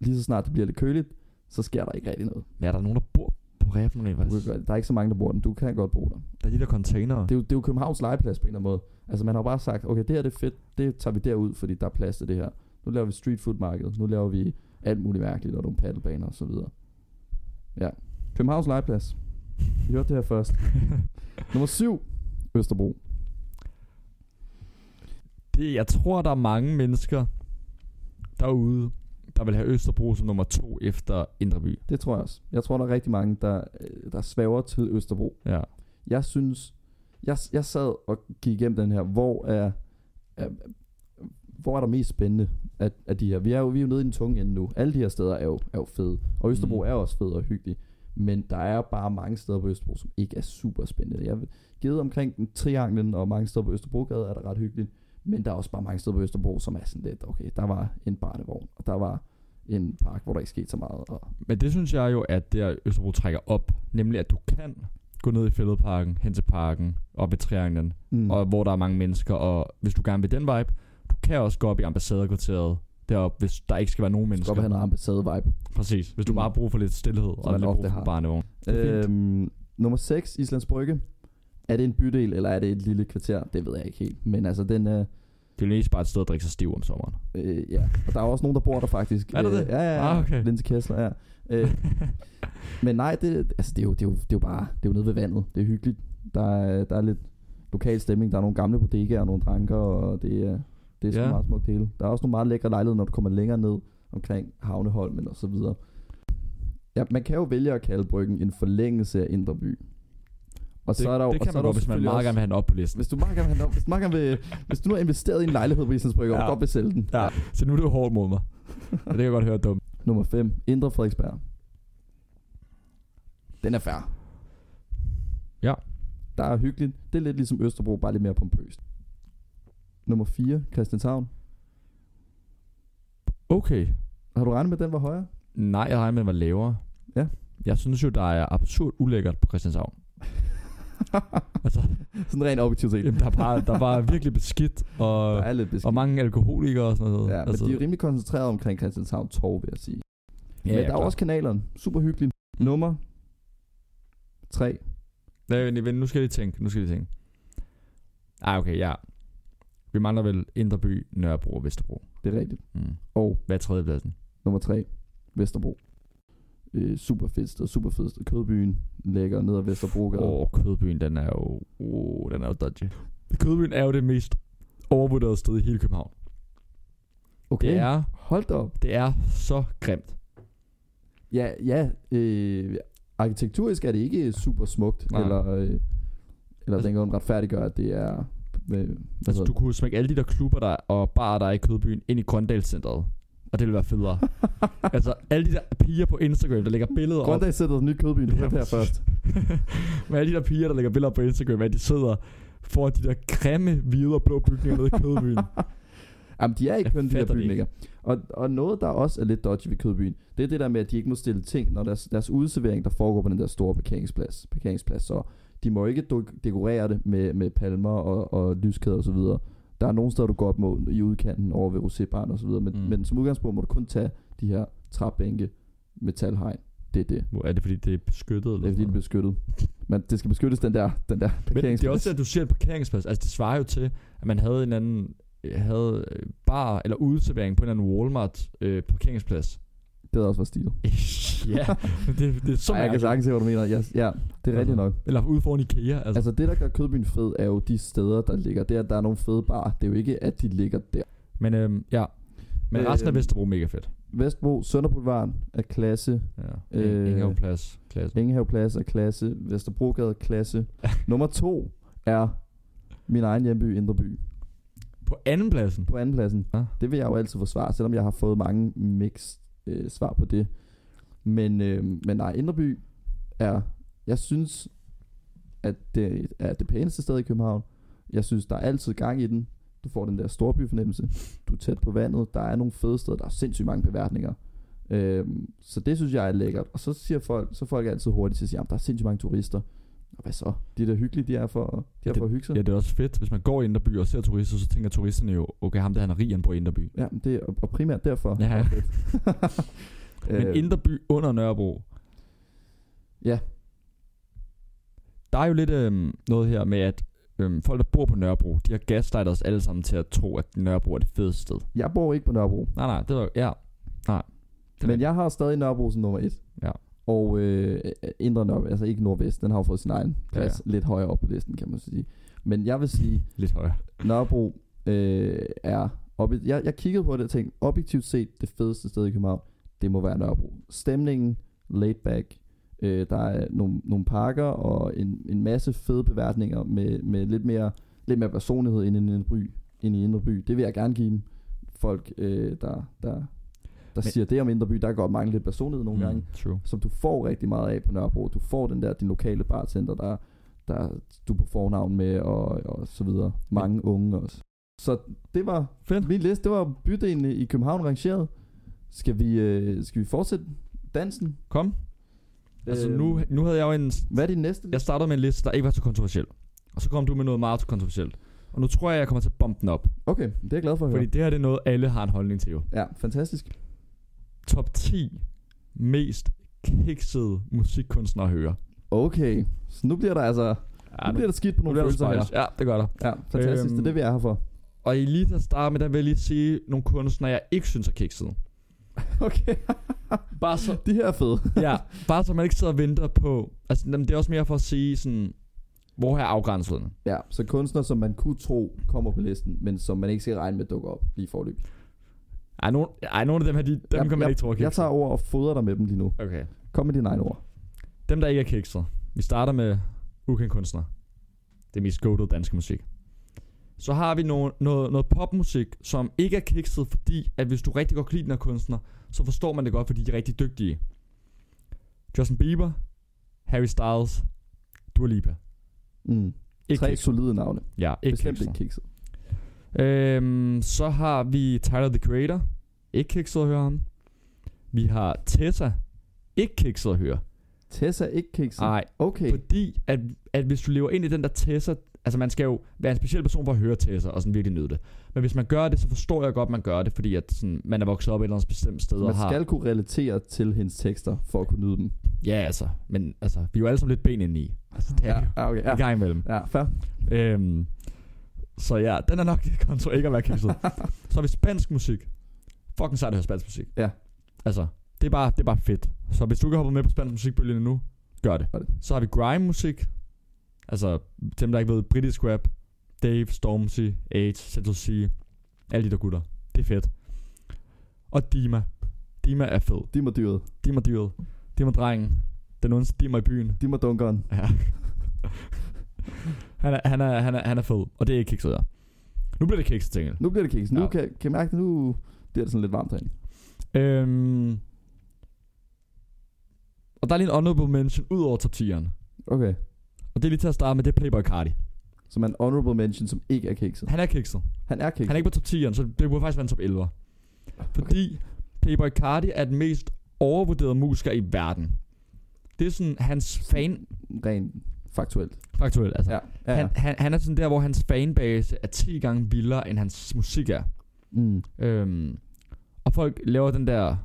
Speaker 1: Lige så snart det bliver lidt køligt, så sker der ikke rigtig noget.
Speaker 2: Men er der nogen, der bor på Reffen rent
Speaker 1: Du kan
Speaker 2: faktisk?
Speaker 1: gøre det. Der er ikke så mange, der bor den. Du kan godt bo der.
Speaker 2: Der er de der containere.
Speaker 1: Det er, jo, det er jo Københavns legeplads på en eller anden måde. Altså man har jo bare sagt, okay, det her det er fedt, det tager vi derud, fordi der er plads til det her. Nu laver vi street food marked, nu laver vi alt muligt mærkeligt, og nogle paddelbaner og så videre. Ja. Københavns legeplads. I hørte det her først. Nummer 7. Østerbro.
Speaker 2: Det, jeg tror, der er mange mennesker derude, der vil have Østerbro som nummer to efter Indreby.
Speaker 1: Det tror jeg også. Jeg tror, der er rigtig mange, der, øh, der svæver til Østerbro.
Speaker 2: Ja.
Speaker 1: jeg synes, jeg, jeg sad og gik igennem den her, hvor er, er hvor er der mest spændende af, af de her? Vi er, jo, vi er jo nede i den tunge ende nu. Alle de her steder er jo, er jo fede. Og Østerbro
Speaker 2: Mm.
Speaker 1: mm. er også fed og hyggelig. Men der er bare mange steder på Østerbro, som ikke er super spændende. Jeg vil- givet omkring den trianglen og mange steder på Østerbrogade er der ret hyggeligt. Men der er også bare mange steder på Østerbro, som er sådan lidt, okay, der var en barnevogn, og der var en park, hvor der ikke skete så meget. Og
Speaker 2: Men det synes jeg jo, at det er Østerbro trækker op. Nemlig, at du kan gå ned i fældeparken, hen til parken, op i trianglen, mm. og hvor der er mange mennesker. Og hvis du gerne vil den vibe, du kan også gå op i ambassadekvarteret deroppe, hvis der ikke skal være nogen
Speaker 1: det skal
Speaker 2: mennesker.
Speaker 1: godt have noget ambassade-vibe.
Speaker 2: Præcis. Hvis du
Speaker 1: Mm.
Speaker 2: bare har brug for lidt stillhed,
Speaker 1: Som
Speaker 2: og
Speaker 1: man
Speaker 2: lidt brug
Speaker 1: ofte
Speaker 2: for
Speaker 1: har.
Speaker 2: barnevogn. Det er fint.
Speaker 1: Øhm, nummer 6, Islands Brygge. Er det en bydel, eller er det et lille kvarter? Det ved jeg ikke helt. Men altså, den er...
Speaker 2: Det er jo mest bare et sted at drikke sig stiv om sommeren.
Speaker 1: Øh, ja. Og der er også nogen, der bor der faktisk.
Speaker 2: Er der det?
Speaker 1: Øh, ja, ja, ja.
Speaker 2: Ah, okay.
Speaker 1: Linse Kessler, ja. Øh, men nej, det, altså, det, er jo, det, er jo, det er jo bare... Det er jo nede ved vandet. Det er hyggeligt. Der er, der er lidt lokal stemning. Der er nogle gamle bodegaer og nogle dranker, og det er... Det er sådan
Speaker 2: Ja.
Speaker 1: ja. meget smukt det hele. Der er også nogle meget lækre lejligheder, når du kommer længere ned omkring Havneholmen og så videre. Ja, man kan jo vælge at kalde bryggen en forlængelse af Indre By. Og
Speaker 2: det,
Speaker 1: så er der jo,
Speaker 2: det
Speaker 1: og
Speaker 2: kan
Speaker 1: så er
Speaker 2: man
Speaker 1: der jo
Speaker 2: godt, hvis man
Speaker 1: selvfølgelig
Speaker 2: meget
Speaker 1: også-
Speaker 2: gerne vil have den op på listen.
Speaker 1: hvis du meget gerne vil, have den op- hvis du, meget gerne vil, hvis du nu har investeret i en lejlighed på Islands Brygge, ja. og
Speaker 2: Ja.
Speaker 1: du godt vil sælge den.
Speaker 2: Ja, så nu er du hård mod mig. Ja, det kan jeg godt høre dumt.
Speaker 1: Nummer 5. Indre Frederiksberg. Den er fair.
Speaker 2: Ja.
Speaker 1: Der er hyggeligt. Det er lidt ligesom Østerbro, bare lidt mere pompøst. Nummer 4. Christianshavn.
Speaker 2: Okay.
Speaker 1: Har du regnet med, at den var højere?
Speaker 2: Nej, jeg regner med, at den var lavere.
Speaker 1: Ja.
Speaker 2: Jeg synes jo, der er absurd ulækkert på Christianshavn. altså,
Speaker 1: Sådan rent objektivt set.
Speaker 2: jamen, der, er bare, der er bare virkelig beskidt,
Speaker 1: Der
Speaker 2: og,
Speaker 1: er lidt beskidt.
Speaker 2: og mange alkoholikere og sådan noget.
Speaker 1: Ja, men
Speaker 2: altså,
Speaker 1: de er jo rimelig koncentreret omkring Christianshavn Torv, vil jeg sige. men
Speaker 2: ja, ja,
Speaker 1: der er
Speaker 2: klart.
Speaker 1: også kanalerne. Super hyggeligt.
Speaker 2: Mm.
Speaker 1: Nummer 3.
Speaker 2: Nej, vent, lige, vent, nu skal jeg lige tænke, nu skal jeg lige tænke. Ej, okay, ja. Vi mangler vel Indre By, Nørrebro og Vesterbro.
Speaker 1: Det er rigtigt.
Speaker 2: Mm.
Speaker 1: Og
Speaker 2: Hvad er tredjepladsen?
Speaker 1: Nummer 3, Vesterbro. Øh, super fedt sted, super fedt sted. Kødbyen ligger ned ad Vesterbrogade.
Speaker 2: Åh, oh, Kødbyen, den er jo... Oh, den er jo dodgy. Kødbyen er jo det mest overvurderede sted i hele København.
Speaker 1: okay,
Speaker 2: Det er,
Speaker 1: hold da op.
Speaker 2: Altså, det er så grimt.
Speaker 1: Ja, ja øh, arkitekturisk er det ikke super smukt,
Speaker 2: Nej.
Speaker 1: Nej. eller, øh, eller
Speaker 2: Altså-
Speaker 1: altså, den kan retfærdiggøre, at det er... Øh, hvad
Speaker 2: Altså,
Speaker 1: hedder
Speaker 2: du kunne smække alle de der klubber der, og barer, der er i Kødbyen, ind i Grøndalscenteret. Og det ville være federe. altså, alle de der piger på Instagram, der lægger billeder op.
Speaker 1: Grunddag sætter den nye kødbyen, du
Speaker 2: Ja,
Speaker 1: hørte her
Speaker 2: præcis.
Speaker 1: først.
Speaker 2: Med alle de der piger, der lægger billeder op på Instagram, at de sidder foran de der grimme, hvide og blå bygninger nede i Kødbyen.
Speaker 1: Jamen, de er ikke
Speaker 2: Jeg
Speaker 1: kønne, de
Speaker 2: fatter
Speaker 1: der
Speaker 2: det
Speaker 1: byen, ikke? Og, og noget, der også er lidt dodgy ved kødbyen, det er det der med, at de ikke må stille ting, når deres, deres udservering, der foregår på den der store parkeringsplads, parkeringsplads så de må ikke duk- dekorere det med, med palmer og, og lyskæder og så videre. Der er nogle steder, du godt må i udkanten over ved Rosébaren og så videre, men,
Speaker 2: Mm.
Speaker 1: mm. men som udgangspunkt må du kun tage de her træbænke, metalhegn. Det er det.
Speaker 2: Nu er det, fordi det er beskyttet. Eller
Speaker 1: Det er fordi, det er
Speaker 2: sådan
Speaker 1: beskyttet. Men det skal beskyttes, den der, den der
Speaker 2: noget. Men
Speaker 1: parkeringsplads.
Speaker 2: det er også, at du siger en parkeringsplads. Altså, det svarer jo til, at man havde en anden havde øh, bar eller udservering på en eller anden Walmart øh, parkeringsplads.
Speaker 1: det havde også været stilet.
Speaker 2: ja, men det, det er så
Speaker 1: Ej, jeg kan
Speaker 2: mærkeligt.
Speaker 1: sagtens se, hvad du mener. Yes, ja, det er
Speaker 2: Altså,
Speaker 1: rigtigt nok.
Speaker 2: Eller ude foran IKEA. Altså.
Speaker 1: Altså det, der gør Kødbyen fed, er jo de steder, der ligger. Det er, at der er nogle fede barer. Det er jo ikke, at de ligger der.
Speaker 2: Men øhm, ja. Men øh,
Speaker 1: Øh,
Speaker 2: resten af Vesterbro er mega fedt.
Speaker 1: Vestbro, Sønderboulevarden er klasse.
Speaker 2: Ja. Øh,
Speaker 1: Øh,
Speaker 2: Ingehavplads. Klasse.
Speaker 1: Ingehaveplads er klasse. Vesterbrogade er klasse. Nummer to er min egen hjemby, Indreby.
Speaker 2: På andenpladsen.
Speaker 1: På andenpladsen.
Speaker 2: Ja.
Speaker 1: Det vil jeg jo altid forsvare, selvom jeg har fået mange mix øh, svar på det. Men, øh, men nej, Indreby er... Jeg synes, at det er det pæneste sted i København. Jeg synes, der er altid gang i den. Du får den der storbyfornemmelse. Du er tæt på vandet. Der er nogle fede steder. Der er sindssygt mange beværtninger. Øhm, så det synes jeg er lækkert. Og så siger folk, så er folk altid hurtigt til at sige, at der er sindssygt mange turister. Og hvad så? De er da hyggelige, de er for, de er for at hygge sig.
Speaker 2: Ja, det er også fedt, hvis man går i Inderby og ser turister, så tænker turisterne jo, okay, ham der han er rig, han bor i Inderby.
Speaker 1: Ja, men det er, og primært derfor.
Speaker 2: Ja. Men
Speaker 1: Øh,
Speaker 2: Inderby under Nørrebro.
Speaker 1: Ja.
Speaker 2: Der er jo lidt øhm, noget her med, at øhm, folk, der bor på Nørrebro, de har gaslightet os alle sammen til at tro, at Nørrebro er det fedeste sted.
Speaker 1: Jeg bor ikke på Nørrebro,
Speaker 2: Nej, nej, det var ja. Nej. Det
Speaker 1: men jeg har stadig Nørrebro som nummer et.
Speaker 2: Ja.
Speaker 1: Og øh, Indre Nørrebro, altså ikke Nordvest, den har jo fået sin egen
Speaker 2: Ja,
Speaker 1: plads ja, ja. lidt højere op på listen, kan man så sige. Men jeg vil sige,
Speaker 2: Lidt højere.
Speaker 1: Nørrebro øh, er... Oppe, jeg, jeg kiggede på det og tænkte, objektivt set, det fedeste sted i København, det må være Nørrebro. Stemningen, laid back, øh, der er nogle, nogle parker og en, en masse fede beværtninger med, med lidt, mere, lidt mere personlighed inde i en by, inde i indre by. Det vil jeg gerne give dem. folk, øh, der, der, der Men, siger det om indre by. Der kan godt mangle lidt personlighed nogle mm. gange
Speaker 2: True.
Speaker 1: som du får rigtig meget af på Nørrebro. Du får den der, din lokale bartender, der, der du er på fornavn med, og, og så videre. Mange unge også. Så det var
Speaker 2: Fedt.
Speaker 1: min liste. Det var bydelene i København rangeret. Skal vi, øh, skal vi fortsætte dansen?
Speaker 2: Kom. Altså,
Speaker 1: Øh,
Speaker 2: nu, nu havde jeg jo en
Speaker 1: Hvad er din næste?
Speaker 2: Jeg startede med en liste, der ikke var så kontroversiel. Og så kom du med noget meget kontroversielt. Og nu tror jeg, jeg kommer til at bombe den op.
Speaker 1: Okay, det er jeg glad for at
Speaker 2: Fordi
Speaker 1: høre.
Speaker 2: det her det er noget, alle har en holdning til jo.
Speaker 1: Ja, fantastisk.
Speaker 2: Top 10 mest kiksede musikkunstnere at høre.
Speaker 1: Okay, så nu bliver der altså
Speaker 2: Ja,
Speaker 1: nu bliver der skidt på nogle
Speaker 2: der
Speaker 1: følelser her.
Speaker 2: spejs. Ja, det gør der.
Speaker 1: Ja, fantastisk.
Speaker 2: Øhm,
Speaker 1: det er det, vi er her for.
Speaker 2: Og i lige til at starte med, der vil jeg lige sige nogle kunstnere, jeg ikke synes er kiksede.
Speaker 1: Okay,
Speaker 2: Bare så,
Speaker 1: de her er fede.
Speaker 2: ja, bare så man ikke sidder og venter på... Altså, jamen, det er også mere for at sige sådan... Hvor her afgrænset den?
Speaker 1: Ja, så kunstnere, som man kunne tro kommer på listen, men som man ikke skal regne med dukker op lige forløb.
Speaker 2: Ej, nogen, ej, nogle af dem her, de, dem
Speaker 1: Jeg-
Speaker 2: kan man ikke tro er
Speaker 1: Jeg
Speaker 2: kiksede.
Speaker 1: tager over og fodrer dig med dem lige nu.
Speaker 2: Okay.
Speaker 1: Kom med dine egne ord.
Speaker 2: Dem, der ikke er kikset. Vi starter med ukendt kunstner. Det er mest goated danske musik. Så har vi noget, noget, noget popmusik, som ikke er kikset, fordi at hvis du rigtig godt kan lide den her kunstner, så forstår man det godt, fordi de er rigtig dygtige. Justin Bieber, Harry Styles, Dua Lipa.
Speaker 1: Mm.
Speaker 2: Ikke
Speaker 1: Tre
Speaker 2: kikset.
Speaker 1: solide navne.
Speaker 2: Ja, ikke
Speaker 1: Bestemt
Speaker 2: kikset.
Speaker 1: ikke kikset.
Speaker 2: Øhm, så har vi Tyler, the Creator. Ikke kikset at høre ham. Vi har Tessa. Ikke kikset at høre.
Speaker 1: Tessa ikke kikset.
Speaker 2: Nej,
Speaker 1: Okay.
Speaker 2: Fordi at, at hvis du lever ind i den der Tessa, altså man skal jo være en speciel person for at høre Tessa og sådan virkelig nyde det. Men hvis man gør det, så forstår jeg godt, at man gør det, fordi at sådan, man er vokset op et eller andet bestemt sted
Speaker 1: Man
Speaker 2: og har...
Speaker 1: skal kunne relatere til hendes tekster, for at kunne nyde dem.
Speaker 2: Ja, altså. Men altså, vi er jo alle sammen lidt ben inde i. Altså, det er ja. jo
Speaker 1: ja okay.
Speaker 2: ja. en
Speaker 1: Ja,
Speaker 2: gang imellem.
Speaker 1: ja fair.
Speaker 2: Øhm, så ja, den er nok kontra ikke at være kikset. så har vi spansk musik. Fucking sejt at høre spansk musik.
Speaker 1: Ja.
Speaker 2: Altså, det er, bare, det er bare fedt. Så hvis du kan hoppe med på spansk musikbølgen nu, gør det.
Speaker 1: Gør det.
Speaker 2: Så har vi grime musik. Altså, dem der ikke ved, britisk rap. Dave, Stormzy, Age, Central C. Alle de der gutter. Det er fedt. Og Dima. Dima er fed.
Speaker 1: De må dyret.
Speaker 2: Dima dyret. Dima drengen. Den ondste Dima i byen.
Speaker 1: De må dunkeren.
Speaker 2: Ja. han, er, han, er, han, er, han er fed. Og det er ikke kikset, ja. Nu bliver det kikset, tænker jeg.
Speaker 1: Nu bliver det kiks. Nu
Speaker 2: Ja.
Speaker 1: kan, kan jeg mærke det. Nu bliver det sådan lidt varmt herinde.
Speaker 2: Øhm, og der er lige en honorable mention ud over top 10'eren.
Speaker 1: Okay.
Speaker 2: Og det er lige til at starte med, det er Playboy Cardi.
Speaker 1: Som er en honorable mention, som ikke er kikset.
Speaker 2: Han er kikset.
Speaker 1: Han er kikset.
Speaker 2: Han er ikke på top 10'eren, så det burde faktisk være en top 11'er. Fordi Playboy Cardi er den mest overvurderede musiker i verden. Det er sådan hans fan...
Speaker 1: Rent faktuelt.
Speaker 2: Faktuelt, altså.
Speaker 1: Ja. ja.
Speaker 2: Han, han, han er sådan der, hvor hans fanbase er 10 gange vildere, end hans musik er.
Speaker 1: mm.
Speaker 2: Øhm, og folk laver den der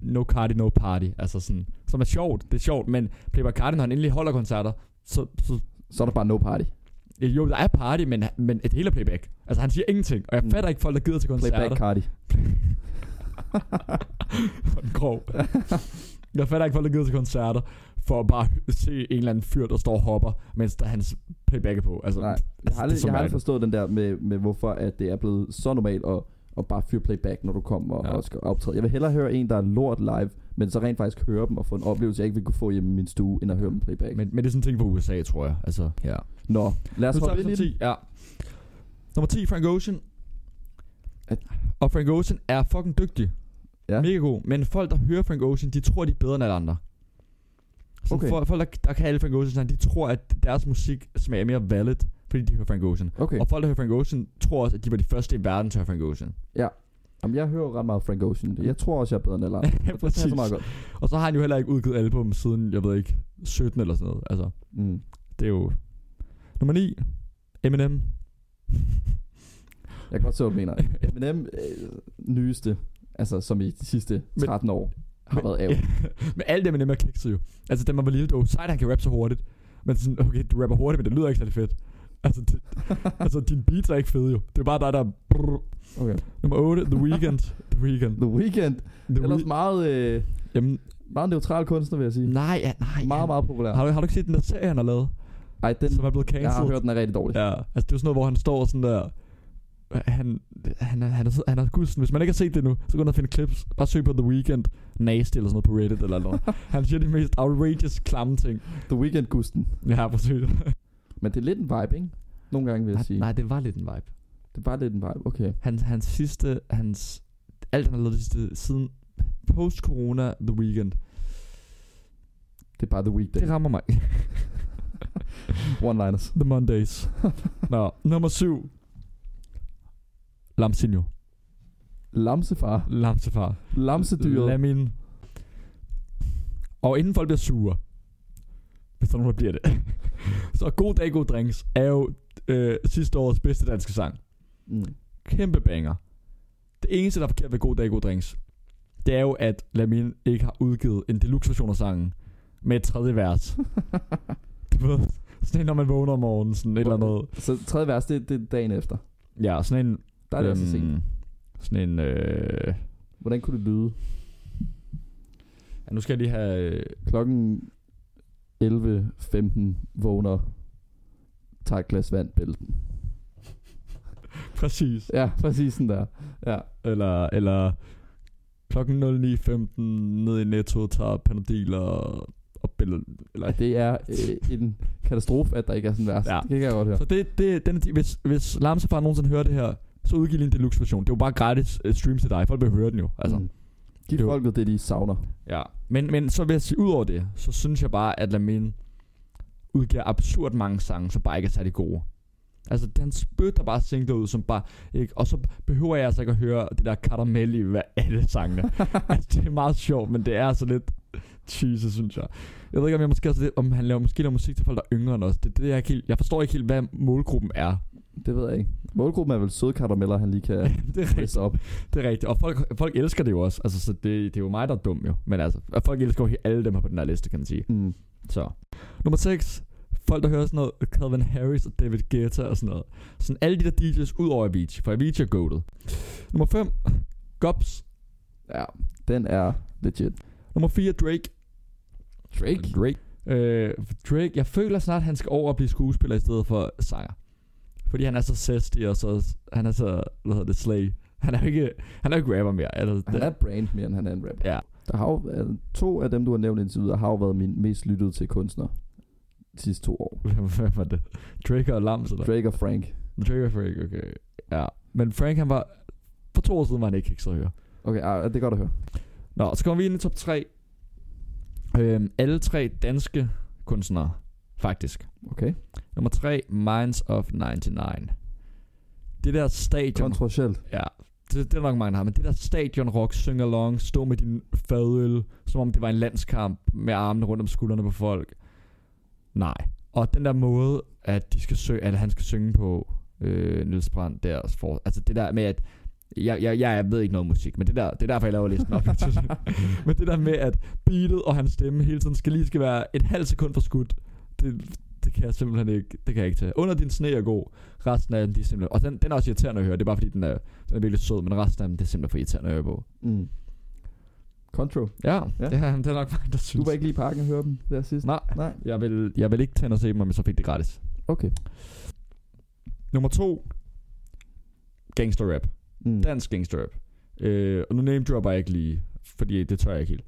Speaker 2: no cardi, no party, altså sådan, som er sjovt, det er sjovt, men Playboy Cardi, når han endelig holder koncerter, så, så
Speaker 1: Så er der bare no party.
Speaker 2: jo, der er party, men, men et hele playback. Altså, han siger ingenting, og jeg
Speaker 1: Mm.
Speaker 2: fatter ikke folk, der gider til
Speaker 1: Playback
Speaker 2: koncerter.
Speaker 1: Cardi.
Speaker 2: For en grov. jeg fatter ikke folk, der gider til koncerter, for at bare se en eller anden fyr, der står og hopper, mens der er hans playback er på. Altså,
Speaker 1: Nej, jeg har
Speaker 2: altså, det er
Speaker 1: aldrig,
Speaker 2: så
Speaker 1: jeg har aldrig
Speaker 2: mærkeligt.
Speaker 1: forstået den der med, med hvorfor at det er blevet så normalt at, at bare fyre playback, når du kommer og,
Speaker 2: Ja.
Speaker 1: ja. og skal optræde. Jeg vil hellere høre en, der er lort live, men så rent faktisk høre dem og få en oplevelse, jeg ikke vil kunne få hjemme i min stue, end at høre dem playback. Men,
Speaker 2: men, men det er sådan en ting på USA, tror jeg. Altså, ja.
Speaker 1: Nå, lad os
Speaker 2: Nu tager
Speaker 1: hoppe ind
Speaker 2: vi
Speaker 1: i
Speaker 2: top
Speaker 1: det.
Speaker 2: 10, ja. Nummer 10, Frank Ocean.
Speaker 1: At-
Speaker 2: Og Frank Ocean er fucking dygtig.
Speaker 1: Ja.
Speaker 2: Mega god. Men folk, der hører Frank Ocean, de tror, de er bedre end alle andre. Så
Speaker 1: Okay.
Speaker 2: folk, folk, der, der kan alle Frank Ocean sange, de tror, at deres musik smager mere valid, fordi de hører Frank Ocean.
Speaker 1: Okay,
Speaker 2: Og folk, der hører Frank Ocean, tror også, at de var de første i verden til at høre Frank Ocean.
Speaker 1: Jamen, jeg hører jo ret meget Frank Ocean. Jeg tror også, jeg er bedre end alle andre. Det
Speaker 2: Præcis.
Speaker 1: passer meget godt.
Speaker 2: Og så har han jo heller ikke udgivet album siden, jeg ved ikke, 17 eller sådan noget. Altså,
Speaker 1: Mm.
Speaker 2: det er jo... Nummer 9, Eminem.
Speaker 1: Jeg kan godt se, hvad du mener. Eminem øh, nyeste, altså som i de sidste
Speaker 2: Men-
Speaker 1: 13 år, har
Speaker 2: Men-
Speaker 1: været af.
Speaker 2: Men alt det med dem er kikset jo. Altså dem var lige det var sejt, han kan rappe så hurtigt. Men sådan, okay, du rapper hurtigt, men det lyder ikke særlig fedt. Altså, det, altså din beats er ikke fede jo. Det er bare dig, der... Brrr.
Speaker 1: Okay.
Speaker 2: Nummer 8, The Weeknd. The Weeknd.
Speaker 1: The Weeknd,
Speaker 2: The
Speaker 1: ellers meget, øh,
Speaker 2: Jamen,
Speaker 1: meget neutral kunstner, vil jeg sige.
Speaker 2: nej, ja, nej.
Speaker 1: Meget,
Speaker 2: han-
Speaker 1: meget populær.
Speaker 2: Har du, har du ikke set den der serie, han har lavet?
Speaker 1: Ej, den,
Speaker 2: som er blevet cancelled?
Speaker 1: jeg har hørt, den er rigtig dårlig.
Speaker 2: Ja, altså det er jo sådan noget, hvor han står sådan der... Han, han, er- han, er, han er gudsen. Hvis man ikke har set det nu, så gå ned og finde clips. Bare søg på The Weeknd Nasty eller sådan noget på Reddit eller noget. han siger de mest outrageous klamme ting.
Speaker 1: The Weeknd gusten.
Speaker 2: Ja, præcis.
Speaker 1: Men det er lidt en vibe, ikke? Nogle gange vil jeg
Speaker 2: Nej,
Speaker 1: sige.
Speaker 2: nej, det var lidt en vibe.
Speaker 1: Det er bare lidt en vibe. Okay.
Speaker 2: Hans, hans sidste, hans, alt han har lavet det sidste, siden post-corona The Weekend.
Speaker 1: Det er bare The
Speaker 2: Det,
Speaker 1: Weeknd.
Speaker 2: det rammer mig.
Speaker 1: One-liners.
Speaker 2: The Mondays. Nå, nummer syv. Lamsinho.
Speaker 1: Lamsefar.
Speaker 2: Lamsefar.
Speaker 1: Lamsedyret.
Speaker 2: Lamin. Og inden folk bliver sure, hvis der er nogen, der bliver det, så God Dag, God Drinks er jo øh, sidste årets bedste danske sang.
Speaker 1: mm.
Speaker 2: kæmpe banger. Det eneste, der er forkert ved God Dag, God Drinks, det er jo, at Lamin ikke har udgivet en deluxe version af sangen med et tredje vers. du ved, sådan en, når man vågner om morgenen, sådan et eller andet.
Speaker 1: Så tredje vers, det, det er dagen efter.
Speaker 2: Ja, sådan en...
Speaker 1: Der er det
Speaker 2: altså
Speaker 1: også
Speaker 2: Øhm.
Speaker 1: sent.
Speaker 2: Sådan en... Øh,
Speaker 1: Hvordan kunne det lyde?
Speaker 2: ja, nu skal jeg lige have... Øh,
Speaker 1: Klokken 11.15 vågner. Tager et glas vand, bælten.
Speaker 2: præcis.
Speaker 1: Ja, præcis sådan der. Ja.
Speaker 2: Eller, eller klokken 09.15 ned i Netto, tager panodil og, og billeder. Eller,
Speaker 1: Og det er øh, en katastrofe, at der ikke er sådan en vers.
Speaker 2: Ja.
Speaker 1: Det kan jeg godt høre.
Speaker 2: Så det, det, den, hvis, hvis Lamsefar nogensinde hører det her, så udgiv lige en deluxe version. Det er jo bare gratis uh, stream til dig. Folk vil høre den jo. Altså. Mm.
Speaker 1: Mm. Giv
Speaker 2: det var-
Speaker 1: folket det, de savner.
Speaker 2: Ja. Men, men så vil jeg sige, ud over det, så synes jeg bare, at Lamin udgiver absurd mange sange, som bare ikke er særlig gode. Altså, han spytter bare singler ud, som bare... Ikke? Og så behøver jeg altså ikke at høre det der karamel i hver alle sangene. altså, det er meget sjovt, men det er altså lidt cheesy, synes jeg. Jeg ved ikke, om, jeg måske også lidt, om han laver, måske laver musik til folk, der er yngre end os. Det, det er jeg, ikke helt, jeg forstår ikke helt, hvad målgruppen er.
Speaker 1: Det ved jeg ikke. Målgruppen er vel søde karameller, han lige kan
Speaker 2: det er
Speaker 1: presse op.
Speaker 2: Det er rigtigt, og folk, folk elsker det jo også, altså, så det, det er jo mig, der er dum jo, men altså, og folk elsker jo he- alle dem her på den her liste, kan man sige.
Speaker 1: Mm.
Speaker 2: Så. Nummer 6, folk der hører sådan noget, Calvin Harris og David Guetta og sådan noget. Sådan alle de der DJ's ud over Avicii, for Avicii er goated. Nummer 5, Gobs.
Speaker 1: Ja, den er legit.
Speaker 2: Nummer 4, Drake.
Speaker 1: Drake?
Speaker 2: Drake. Øh, Drake, jeg føler snart, han skal over og blive skuespiller i stedet for sanger. Fordi han er så zesty og så, han er så, hvad hedder det, slay. Han er jo ikke, han er jo ikke rapper mere. Altså,
Speaker 1: Han er et brand mere, end han er en rapper.
Speaker 2: Ja.
Speaker 1: Der har jo, altså, to af dem, du har nævnt indtil videre, har jo været min mest lyttede til kunstner de sidste to år.
Speaker 2: Hvem var det? Drake og Lams, eller?
Speaker 1: Drake og Frank.
Speaker 2: Drake og Frank, okay. Ja. Men Frank, han var... For to år siden var han ikke hekset at høre.
Speaker 1: Okay, ah, det er godt at høre.
Speaker 2: Nå, så kommer vi ind i top 3. Øhm, alle tre danske kunstnere, faktisk.
Speaker 1: Okay.
Speaker 2: Nummer 3, Minds of 99. Det der stadion...
Speaker 1: Kontroversielt.
Speaker 2: ja, det, det er nok mange, der har, men det der stadion rock, sing along, stå med din fadøl, som om det var en landskamp med armene rundt om skuldrene på folk. Nej. Og den der måde, at de skal søge, eller han skal synge på øh, Niels Brandt der, for, altså det der med, at jeg, jeg, jeg ved ikke noget om musik, men det, der, det er derfor, jeg laver listen op. men det der med, at beatet og hans stemme hele tiden skal lige skal være et halvt sekund for skudt, det, det kan jeg simpelthen ikke, det kan jeg ikke tage. Under din sne er god, resten af dem, de er simpelthen, og den, den er også irriterende at høre, det er bare fordi, den er, den er virkelig sød, men resten af dem, det er simpelthen for irriterende at høre på.
Speaker 1: Mm. Contro.
Speaker 2: Ja,
Speaker 1: Ja.
Speaker 2: ja. Det, er, det er nok mig, der
Speaker 1: Du
Speaker 2: synes.
Speaker 1: var ikke lige i parken og høre dem der sidst?
Speaker 2: Nej,
Speaker 1: Nej.
Speaker 2: jeg vil, jeg vil ikke tænde og se dem, men så fik det gratis.
Speaker 1: Okay.
Speaker 2: Nummer to. Gangster rap.
Speaker 1: Mm.
Speaker 2: Dansk gangster rap. Øh, og nu name dropper jeg ikke lige, fordi det tør jeg ikke helt.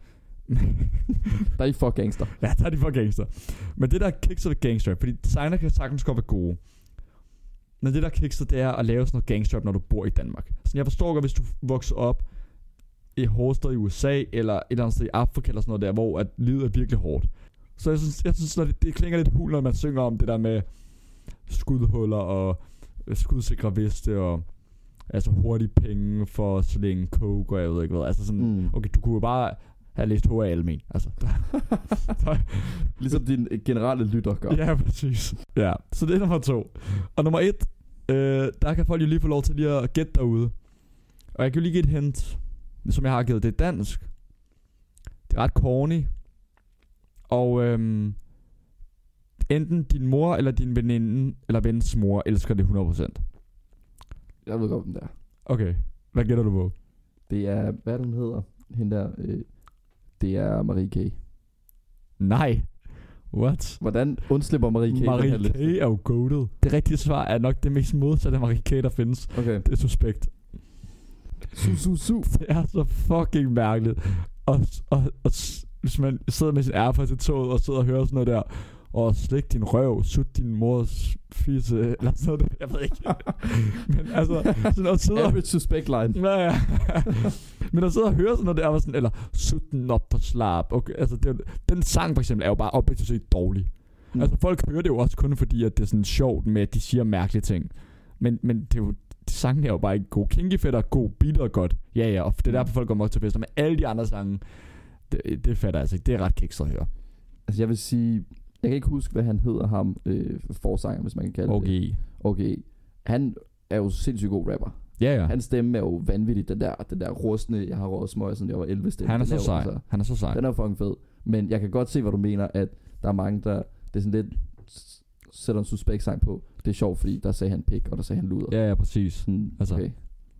Speaker 1: Der er I for gangster.
Speaker 2: Ja, der er de for gangster. Men det der er kikset ved gangster, fordi designer kan sagtens godt være gode. Men det der er kikset, det er at lave sådan noget gangster, når du bor i Danmark. Så jeg forstår godt, hvis du vokser op i et hårdt sted i USA, eller et eller andet sted i Afrika, eller sådan noget der, hvor at livet er virkelig hårdt. Så jeg synes, jeg synes når det, det, klinger lidt hul, når man synger om det der med skudhuller og øh, skudsikre veste og altså hurtige penge for at slænge coke og jeg ved ikke hvad. Altså sådan, mm. okay, du kunne jo bare have læst H.A. Almen. Altså,
Speaker 1: Ligesom din øh, generelle lytter gør.
Speaker 2: Ja, præcis. Ja, så det er nummer to. Og nummer et, øh, der kan folk jo lige få lov til lige at gætte derude. Og jeg kan jo lige give et hint, som jeg har givet. Det er dansk. Det er ret corny. Og øhm, enten din mor eller din veninde eller vens mor elsker det 100%.
Speaker 1: Jeg ved godt, hvem der.
Speaker 2: Okay, hvad gætter du på?
Speaker 1: Det er, hvad er det, hun hedder, hende der, øh, det er Marie K.
Speaker 2: Nej. What?
Speaker 1: Hvordan undslipper Marie K? den her
Speaker 2: Marie K.
Speaker 1: liste?
Speaker 2: er jo goated. Det rigtige svar er nok det mest modsatte af Marie K. der findes.
Speaker 1: Okay.
Speaker 2: Det er suspekt.
Speaker 1: Su, su, su.
Speaker 2: Det er så fucking mærkeligt. Og, og, og s- hvis man sidder med sin Airpods i toget og sidder og hører sådan noget der, og slik din røv, sut din mors fisse, eller sådan noget der, jeg ved ikke. Men altså, sådan at sidde og...
Speaker 1: Average suspect line.
Speaker 2: Ja, ja. Men at sidde og høre sådan noget der, var sådan, eller sut den op på slap. Okay, altså, det, er jo- den sang for eksempel er jo bare objektivt set dårlig. Mm. Altså folk hører det jo også kun fordi, at det er sådan sjovt med, at de siger mærkelige ting. Men, men det er jo, de sangen er jo bare ikke god. Kinky Fedt er god, beat er godt. Ja, ja, og det er derfor
Speaker 1: Mm.
Speaker 2: folk kommer også til fester. Men alle de andre sange, det, det fatter jeg altså ikke. Det er ret kikset at høre.
Speaker 1: Altså, jeg vil sige, jeg kan ikke huske, hvad han hedder ham, øh, forsanger, hvis man kan kalde det.
Speaker 2: Okay.
Speaker 1: Okay. Han er jo sindssygt god rapper.
Speaker 2: Ja, ja. Han,
Speaker 1: Hans stemme er jo vanvittig, den der, den der rustne, jeg har råd smøg, sådan jeg var 11 stemme.
Speaker 2: han er
Speaker 1: Den
Speaker 2: så
Speaker 1: jo-
Speaker 2: sej.
Speaker 1: altså,
Speaker 2: Han er så sej.
Speaker 1: Den er jo fucking fed. Men jeg kan godt se, hvad du mener, at der er mange, der... Det er sådan lidt... s- Sætter en suspekt sang på. Det er sjovt, fordi der sagde han pik, og der sagde han luder.
Speaker 2: Ja, ja, præcis.
Speaker 1: Sådan,
Speaker 2: Altså,
Speaker 1: okay.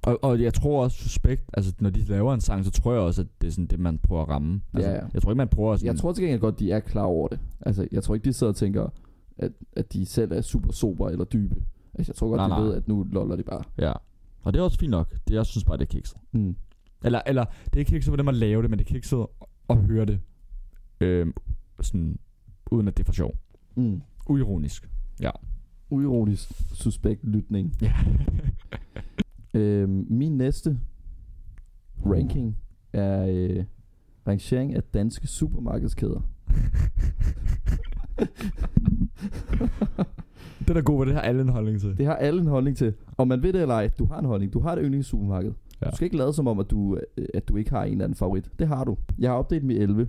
Speaker 2: Og, og jeg tror også, Suspekt, altså når de laver en sang, så tror jeg også, at det er sådan det, man prøver at ramme. Altså,
Speaker 1: Ja, ja.
Speaker 2: Jeg tror ikke, man prøver sådan...
Speaker 1: Jeg tror til gengæld godt, de er klar over det. Altså, jeg tror ikke, de sidder og tænker, at, at de selv er super sober eller dybe. Altså, jeg tror godt,
Speaker 2: Nej,
Speaker 1: de
Speaker 2: nej.
Speaker 1: ved, at nu loller de bare.
Speaker 2: Ja. Og det er også fint nok. Det, jeg synes bare, det er kikset.
Speaker 1: Mm.
Speaker 2: Eller, eller det er ikke kikset, hvordan man laver det, men det er kikset at høre det. Øhm, sådan, uden at det er for sjov.
Speaker 1: Mm.
Speaker 2: Uironisk.
Speaker 1: Uironisk suspekt lytning.
Speaker 2: Ja.
Speaker 1: Øhm, min næste ranking er øh, rangering af danske supermarkedskæder.
Speaker 2: det er da god, hvor det har alle en holdning til.
Speaker 1: Det har alle en holdning til. Om man ved det eller ej, du har en holdning. Du har det yndlingssupermarked. Ja.
Speaker 2: Ja.
Speaker 1: Du skal ikke lade som om, at du, øh, at du ikke har en eller anden favorit. Det har du. Jeg har opdelt mit 11.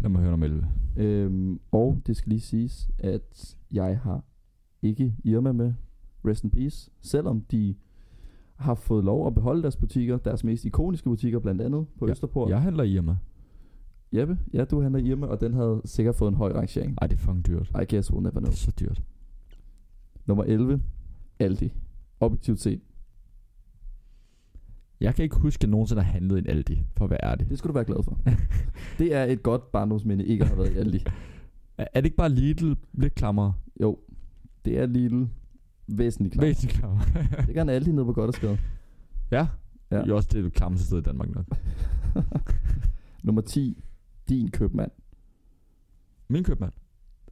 Speaker 2: Lad mig høre nummer 11.
Speaker 1: Øhm, og det skal lige siges, at jeg har ikke Irma med. Rest in peace. Selvom de har fået lov at beholde deres butikker, deres mest ikoniske butikker, blandt andet på ja.
Speaker 2: Ja.
Speaker 1: Østerport.
Speaker 2: Jeg handler i mig.
Speaker 1: Jeppe, ja, du handler Irma, og den havde sikkert fået en høj rangering.
Speaker 2: Ej, det er fucking dyrt.
Speaker 1: I guess we'll never know.
Speaker 2: Det er så dyrt.
Speaker 1: Nummer 11. Aldi. Objektivt set.
Speaker 2: Jeg kan ikke huske, at jeg nogensinde har handlet i en Aldi, for at være ærlig.
Speaker 1: Det skulle du være glad for. det er et godt barndomsminde, ikke at have været i Aldi.
Speaker 2: Er, er det ikke bare Lidl lidt klammere?
Speaker 1: Jo, det er Lidl. Væsentligt klart.
Speaker 2: Væsentligt klammere.
Speaker 1: Det gør han Aldi nede på Goddersgade.
Speaker 2: ja. Ja.
Speaker 1: Ja.
Speaker 2: Det er jo også det klammeste sted i Danmark nok.
Speaker 1: Nummer 10. Din købmand.
Speaker 2: Min købmand.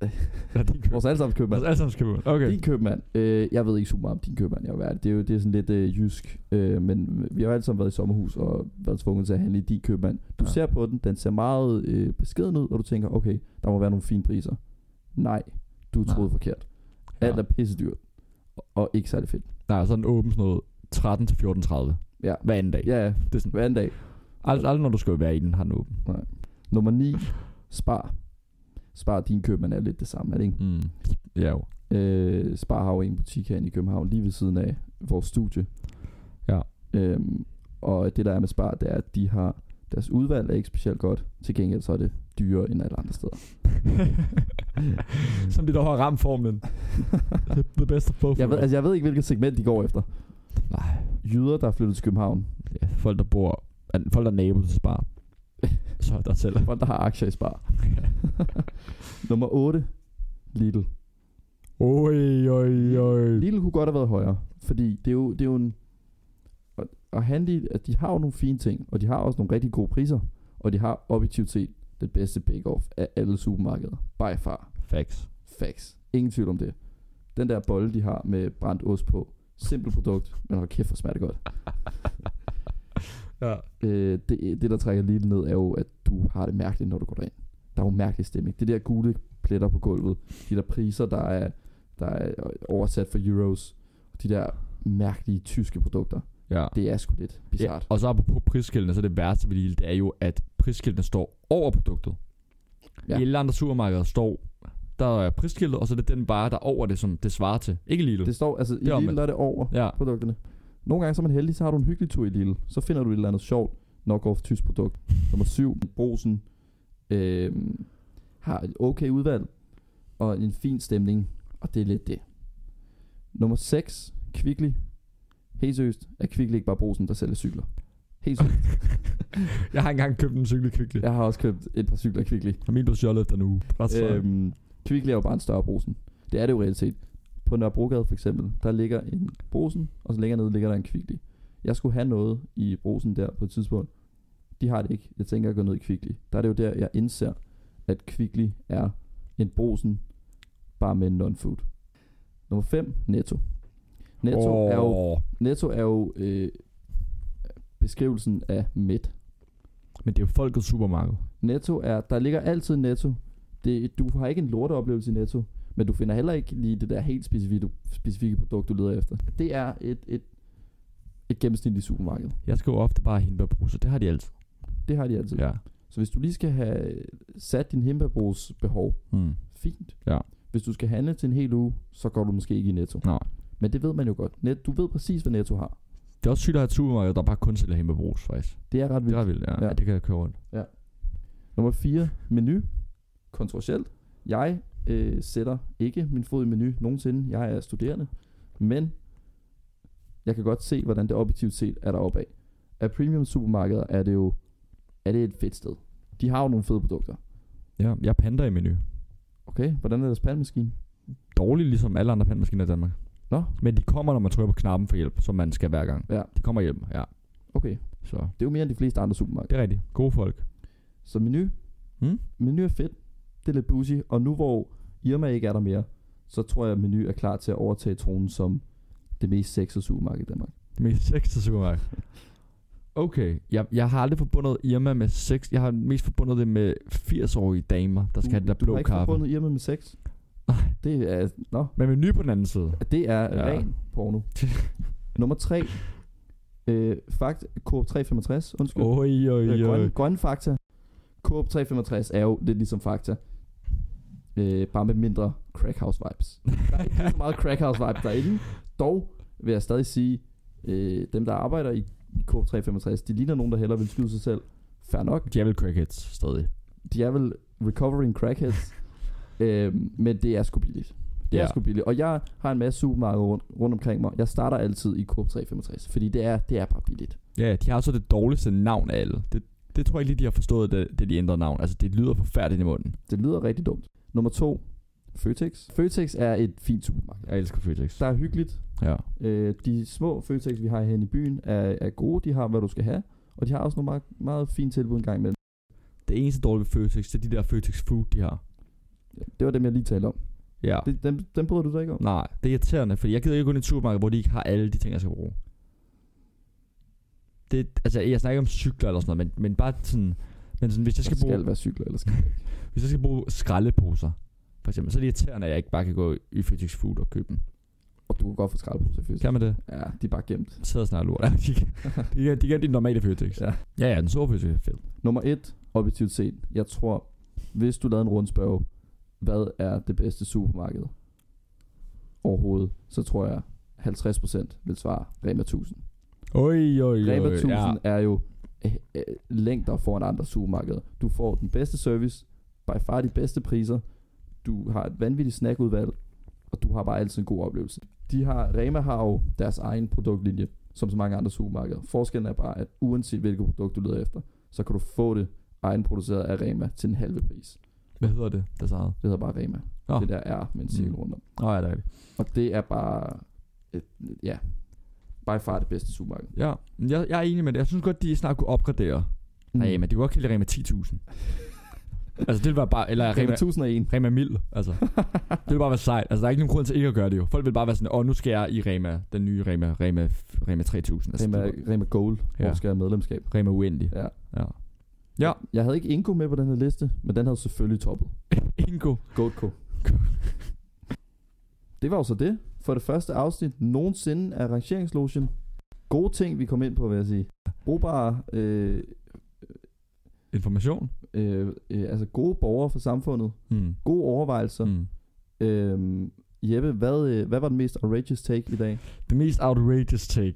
Speaker 2: Eller din købmand.
Speaker 1: Vores allesammens købmand.
Speaker 2: Vores allesammens købmand. Okay.
Speaker 1: Din købmand. Øh, jeg ved ikke super meget om din købmand, jeg vil være ærlig. Det er jo det er sådan lidt øh, jysk, øh, men vi har jo alle sammen været i sommerhus og været tvunget til at handle i din købmand. Du
Speaker 2: Ja.
Speaker 1: ja. ser på den, den ser meget øh, beskeden ud, og du tænker, okay, der må være nogle fine priser. Nej, du
Speaker 2: Nej.
Speaker 1: troede forkert.
Speaker 2: Ja.
Speaker 1: Alt er pissedyrt, og ikke særlig fedt.
Speaker 2: Nej, sådan åben sådan noget 13 til 14.30.
Speaker 1: Ja.
Speaker 2: Hver anden dag.
Speaker 1: Ja, ja,
Speaker 2: Det er sådan,
Speaker 1: hver anden dag.
Speaker 2: ald- aldrig når du skal være i den, har den åben.
Speaker 1: Nummer 9. Spar. Spar, din købmand er lidt det samme, er det ikke?
Speaker 2: Mm. Ja jo.
Speaker 1: Øh, Spar har jo en butik herinde i København, lige ved siden af vores studie.
Speaker 2: Ja.
Speaker 1: Øhm, og det der er med Spar, det er, at de har, deres udvalg er ikke specielt godt. Til gengæld så er det dyrere end alle andre steder.
Speaker 2: Som det der har ramt formlen. The best of both
Speaker 1: Jeg ved, altså, jeg ved ikke, hvilket segment de går efter.
Speaker 2: Nej.
Speaker 1: Jyder, der er flyttet til København.
Speaker 2: Ja, folk, der bor... an- Folk, der er nabo til spar. Så er der selv.
Speaker 1: Folk, der har aktier i Spar. Nummer 8. Lidl.
Speaker 2: Oj, oj, oj.
Speaker 1: Lille kunne godt have været højere, fordi det er jo, det er jo en... Og, og Handy, at de har jo nogle fine ting, og de har også nogle rigtig gode priser, og de har objektivt set det bedste bake-off af alle supermarkeder. By far.
Speaker 2: Facts.
Speaker 1: Facts. Ingen tvivl om det. Den der bolle, de har med brændt ost på. Simpelt produkt, men hold kæft, hvor smager det godt.
Speaker 2: Ja.
Speaker 1: Øh, det, det, der trækker Lille ned, er jo, at du har det mærkeligt, når du går derind. Der er jo mærkelig stemning. Det der gule pletter på gulvet, de der priser, der er, der er oversat for euros, de der mærkelige tyske produkter.
Speaker 2: Ja.
Speaker 1: Det er sgu lidt bizart.
Speaker 2: Og så apropos prisskiltene, så det værste ved Lidl, det er jo, at prisskiltene står over produktet. Ja.
Speaker 1: Ja.
Speaker 2: I alle andre supermarkeder står, der er prisskiltet, og så er det den vare, der er over det, som det svarer til. Ikke Lidl.
Speaker 1: Det står, altså i
Speaker 2: Det er
Speaker 1: Lidl
Speaker 2: omvendt.
Speaker 1: der er det over
Speaker 2: Ja.
Speaker 1: produkterne. Nogle gange, så er man heldig, så har du en hyggelig tur i Lidl. Så finder du et eller andet sjovt knockoff tysk produkt. Nummer 7, Brosen, øh, har et okay udvalg og en fin stemning, og det er lidt det. Nummer 6, Kvickly. Helt seriøst, er Kvickly ikke bare Brosen, der sælger cykler? Helt seriøst.
Speaker 2: Jeg har engang købt en cykel kvickly. Ja.
Speaker 1: Jeg har også købt et par cykler af Kvickly.
Speaker 2: Og min blev stjålet efter en uge. Øhm.
Speaker 1: Øhm, Kvickly er jo bare en større brusen. Det er det jo reelt set. På Nørrebrogade for eksempel, der ligger en brusen, og så længere nede ligger der en Kvickly. Jeg skulle have noget i brusen der på et tidspunkt. De har det ikke. Jeg tænker at gå ned i Kvickly. Der er det jo der, jeg indser, at Kvickly er en brusen, bare med non-food. Nummer 5, Netto. Netto oh. er jo, Netto er jo øh, beskrivelsen af midt.
Speaker 2: Men det er jo folkets supermarked.
Speaker 1: Netto er, der ligger altid Netto. Det, du har ikke en lorteoplevelse i Netto, men du finder heller ikke lige det der helt specifikke, specifikke produkt, du leder efter. Det er et, et, et gennemsnitligt supermarked.
Speaker 2: Jeg skal jo ofte bare have hindbærbruser. Det har de altid.
Speaker 1: Det har de altid. Ja.
Speaker 2: Ja.
Speaker 1: Så hvis du lige skal have sat din hembærbrugs behov,
Speaker 2: Mm.
Speaker 1: fint.
Speaker 2: Ja.
Speaker 1: Hvis du skal handle til en hel uge, så går du måske ikke i Netto.
Speaker 2: Nej.
Speaker 1: Men det ved man jo godt. Net, du ved præcis, hvad Netto har.
Speaker 2: Det er også sygt at have et supermarked, der bare kun sælger hindbærbrus, faktisk.
Speaker 1: Det er ret
Speaker 2: Det
Speaker 1: vildt.
Speaker 2: er ret vildt, ja.
Speaker 1: Ja.
Speaker 2: ja. det kan jeg køre rundt.
Speaker 1: Nummer 4, menu. Kontroversielt. Jeg øh, sætter ikke min fod i menu nogensinde. Jeg er studerende. Men jeg kan godt se, hvordan det objektivt set er deroppe af. Af premium supermarkeder er det jo er det et fedt sted. De har jo nogle fede produkter.
Speaker 2: Ja, jeg panter i menu.
Speaker 1: Okay, hvordan er deres pandemaskine?
Speaker 2: Dårligt ligesom alle andre pandemaskiner i Danmark.
Speaker 1: Nå.
Speaker 2: Men de kommer, når man trykker på knappen for hjælp, som man skal hver gang.
Speaker 1: Ja.
Speaker 2: De kommer hjælp, ja.
Speaker 1: Okay,
Speaker 2: Så
Speaker 1: det er jo mere end de fleste andre supermarkeder.
Speaker 2: det er rigtigt. Gode folk.
Speaker 1: Så menu.
Speaker 2: Mm.
Speaker 1: Menu er fedt. Det er lidt bougie. Og nu hvor Irma ikke er der mere, så tror jeg, at menu er klar til at overtage tronen som det mest sexede supermarked i Danmark.
Speaker 2: Det mest sexede supermarked. Okay, jeg, jeg har aldrig forbundet Irma med sex. Jeg har mest forbundet det med 80-årige damer, der skal have det der
Speaker 1: Uh, du
Speaker 2: blå
Speaker 1: har ikke
Speaker 2: kaffe.
Speaker 1: forbundet Irma med sex?
Speaker 2: Nej.
Speaker 1: Det er, nå,
Speaker 2: Men menu på den anden side.
Speaker 1: det er
Speaker 2: Ja.
Speaker 1: ja. ren porno. Nummer 3. Øh, fakt, Coop 365, undskyld.
Speaker 2: Oj, oj,
Speaker 1: øh, grønne,
Speaker 2: oj.
Speaker 1: grønne fakta. Coop 365 er jo lidt ligesom fakta. Øh, bare med mindre crackhouse vibes. Der er ikke lige så meget crackhouse vibes derinde. Dog vil jeg stadig sige, øh, dem der arbejder i Coop 365, de ligner nogen, der hellere vil skyde sig selv. Fair nok.
Speaker 2: Javel crickets stadig.
Speaker 1: de er vel recovering crackheads, øhm, men det er sgu billigt. Det
Speaker 2: Ja.
Speaker 1: er sgu billigt. Og jeg har en masse supermarkeder rundt, rundt omkring mig. Jeg starter altid i Coop 365, fordi det er, det er bare billigt.
Speaker 2: Ja, de har så det dårligste navn af alle. Det, det tror jeg ikke lige, de har forstået, da, da de ændrede navn. Altså, det lyder forfærdeligt i munden.
Speaker 1: Det lyder rigtig dumt. Nummer to, Føtex. Føtex er et fint supermarked.
Speaker 2: Jeg elsker Føtex.
Speaker 1: Der er hyggeligt.
Speaker 2: Ja.
Speaker 1: Øh, de små Føtex, vi har her i byen, er, er gode. De har, hvad du skal have. Og de har også nogle meget, meget fine tilbud en gang imellem.
Speaker 2: Det eneste dårlige ved Føtex, det er de der Føtex Food, de har.
Speaker 1: Det var dem, jeg lige talte om.
Speaker 2: Ja.
Speaker 1: Ja. Det, dem, dem bryder du dig ikke om?
Speaker 2: Nej, det er irriterende, fordi jeg gider ikke gå ind i et supermarked, hvor de ikke har alle de ting, jeg skal bruge. Det, altså, jeg snakker ikke om cykler eller sådan noget, men, men bare sådan, men sådan, hvis jeg skal,
Speaker 1: skal
Speaker 2: bruge,
Speaker 1: være cykler, eller skal
Speaker 2: hvis jeg skal bruge skraldeposer, for eksempel, så er det irriterende, at jeg ikke bare kan gå i Føtex Food og købe dem.
Speaker 1: Og du kan godt få skraldeposer i Føtex.
Speaker 2: Kan man det?
Speaker 1: Ja, de er bare gemt.
Speaker 2: Sidder snart lort. Ja, de, de, de, de, de normale Føtex.
Speaker 1: Ja.
Speaker 2: ja, ja, den store Føtex er fed.
Speaker 1: Nummer et, objektivt set. Jeg tror, hvis du lavede en rundspørg, hvad er det bedste supermarked overhovedet, så tror jeg 50% vil svare Rema 1000.
Speaker 2: Oj, oj, oj.
Speaker 1: Rema 1000
Speaker 2: ja.
Speaker 1: er jo øh, øh, længder foran andre supermarkeder. Du får den bedste service, by far de bedste priser, du har et vanvittigt snackudvalg, og du har bare altid en god oplevelse. De har, Rema har jo deres egen produktlinje, som så mange andre supermarkeder. Forskellen er bare, at uanset hvilket produkt du leder efter, så kan du få det egenproduceret af Rema til en halve pris.
Speaker 2: Hvad hedder det, der sagde?
Speaker 1: Det hedder bare Rema.
Speaker 2: Nå.
Speaker 1: Det der er med en cirkel
Speaker 2: Mm.
Speaker 1: rundt om.
Speaker 2: Åh, oh, ja, det er rigtigt.
Speaker 1: Og det er bare, et, ja, by far det bedste supermarked.
Speaker 2: Ja, men jeg, jeg er enig med det. Jeg synes godt, de snart kunne opgradere Mm. Nej, men det kunne godt kalde det Rema 10.000. altså det ville være bare, eller
Speaker 1: Rema
Speaker 2: Rema,
Speaker 1: 1001.
Speaker 2: Rema Mild, altså. det ville bare være sejt. Altså der er ikke nogen grund til ikke at gøre det jo. Folk vil bare være sådan, åh nu skal jeg i Rema, den nye Rema, Rema, Rema 3000. Altså, det
Speaker 1: Rema,
Speaker 2: var-
Speaker 1: Rema Gold, ja.
Speaker 2: Ja.
Speaker 1: hvor skal jeg have medlemskab.
Speaker 2: Rema Uendelig.
Speaker 1: Ja.
Speaker 2: ja. Ja.
Speaker 1: Jeg havde ikke Ingo med på den her liste, men den havde selvfølgelig toppet.
Speaker 2: Ingo.
Speaker 1: Goatco. det var jo så det. For det første afsnit nogensinde af rangeringslogen. Gode ting, vi kom ind på, vil jeg sige. Brugbare, øh,
Speaker 2: Information.
Speaker 1: øh, øh, altså gode borgere for samfundet.
Speaker 2: Mm.
Speaker 1: Gode overvejelser. Mm.
Speaker 2: Mm.
Speaker 1: Øh, Jeppe, hvad, øh, hvad var den mest outrageous take i dag?
Speaker 2: Det mest outrageous take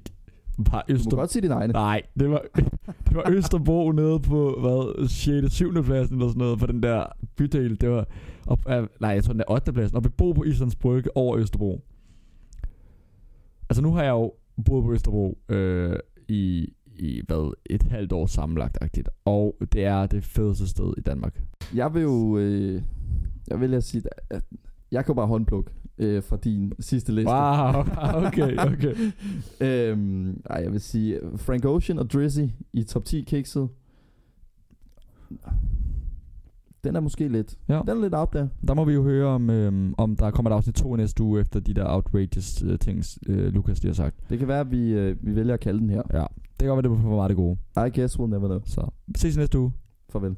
Speaker 2: var
Speaker 1: Du må
Speaker 2: Østerbro.
Speaker 1: godt sige din egen.
Speaker 2: Nej, det var, det var Østerbro nede på, hvad, 6. 7. pladsen eller sådan noget, på den der bydel. Det var, op, af, nej, jeg tror, den er 8. pladsen. Og vi bor på Islands Brygge over Østerbro. Altså, nu har jeg jo boet på Østerbro øh, i, i, hvad, et halvt år sammenlagt Og det er det fedeste sted i Danmark.
Speaker 1: Jeg vil jo... Øh, jeg vil jeg sige, at jeg kan bare håndplukke øh, fra din sidste liste.
Speaker 2: Wow, okay, okay.
Speaker 1: øhm, ej, jeg vil sige Frank Ocean og Drizzy i top 10 kikset. Den er måske lidt.
Speaker 2: Ja.
Speaker 1: Den er lidt op der.
Speaker 2: Der må vi jo høre, om, øh, om der kommer et afsnit 2 næste uge, efter de der outrageous øh, ting, øh, Lukas lige har sagt.
Speaker 1: Det kan være, at vi, øh, vi vælger at kalde den her.
Speaker 2: Ja, det kan godt være, det var for meget det gode.
Speaker 1: I guess we'll never know.
Speaker 2: Så vi ses i næste uge.
Speaker 1: Farvel.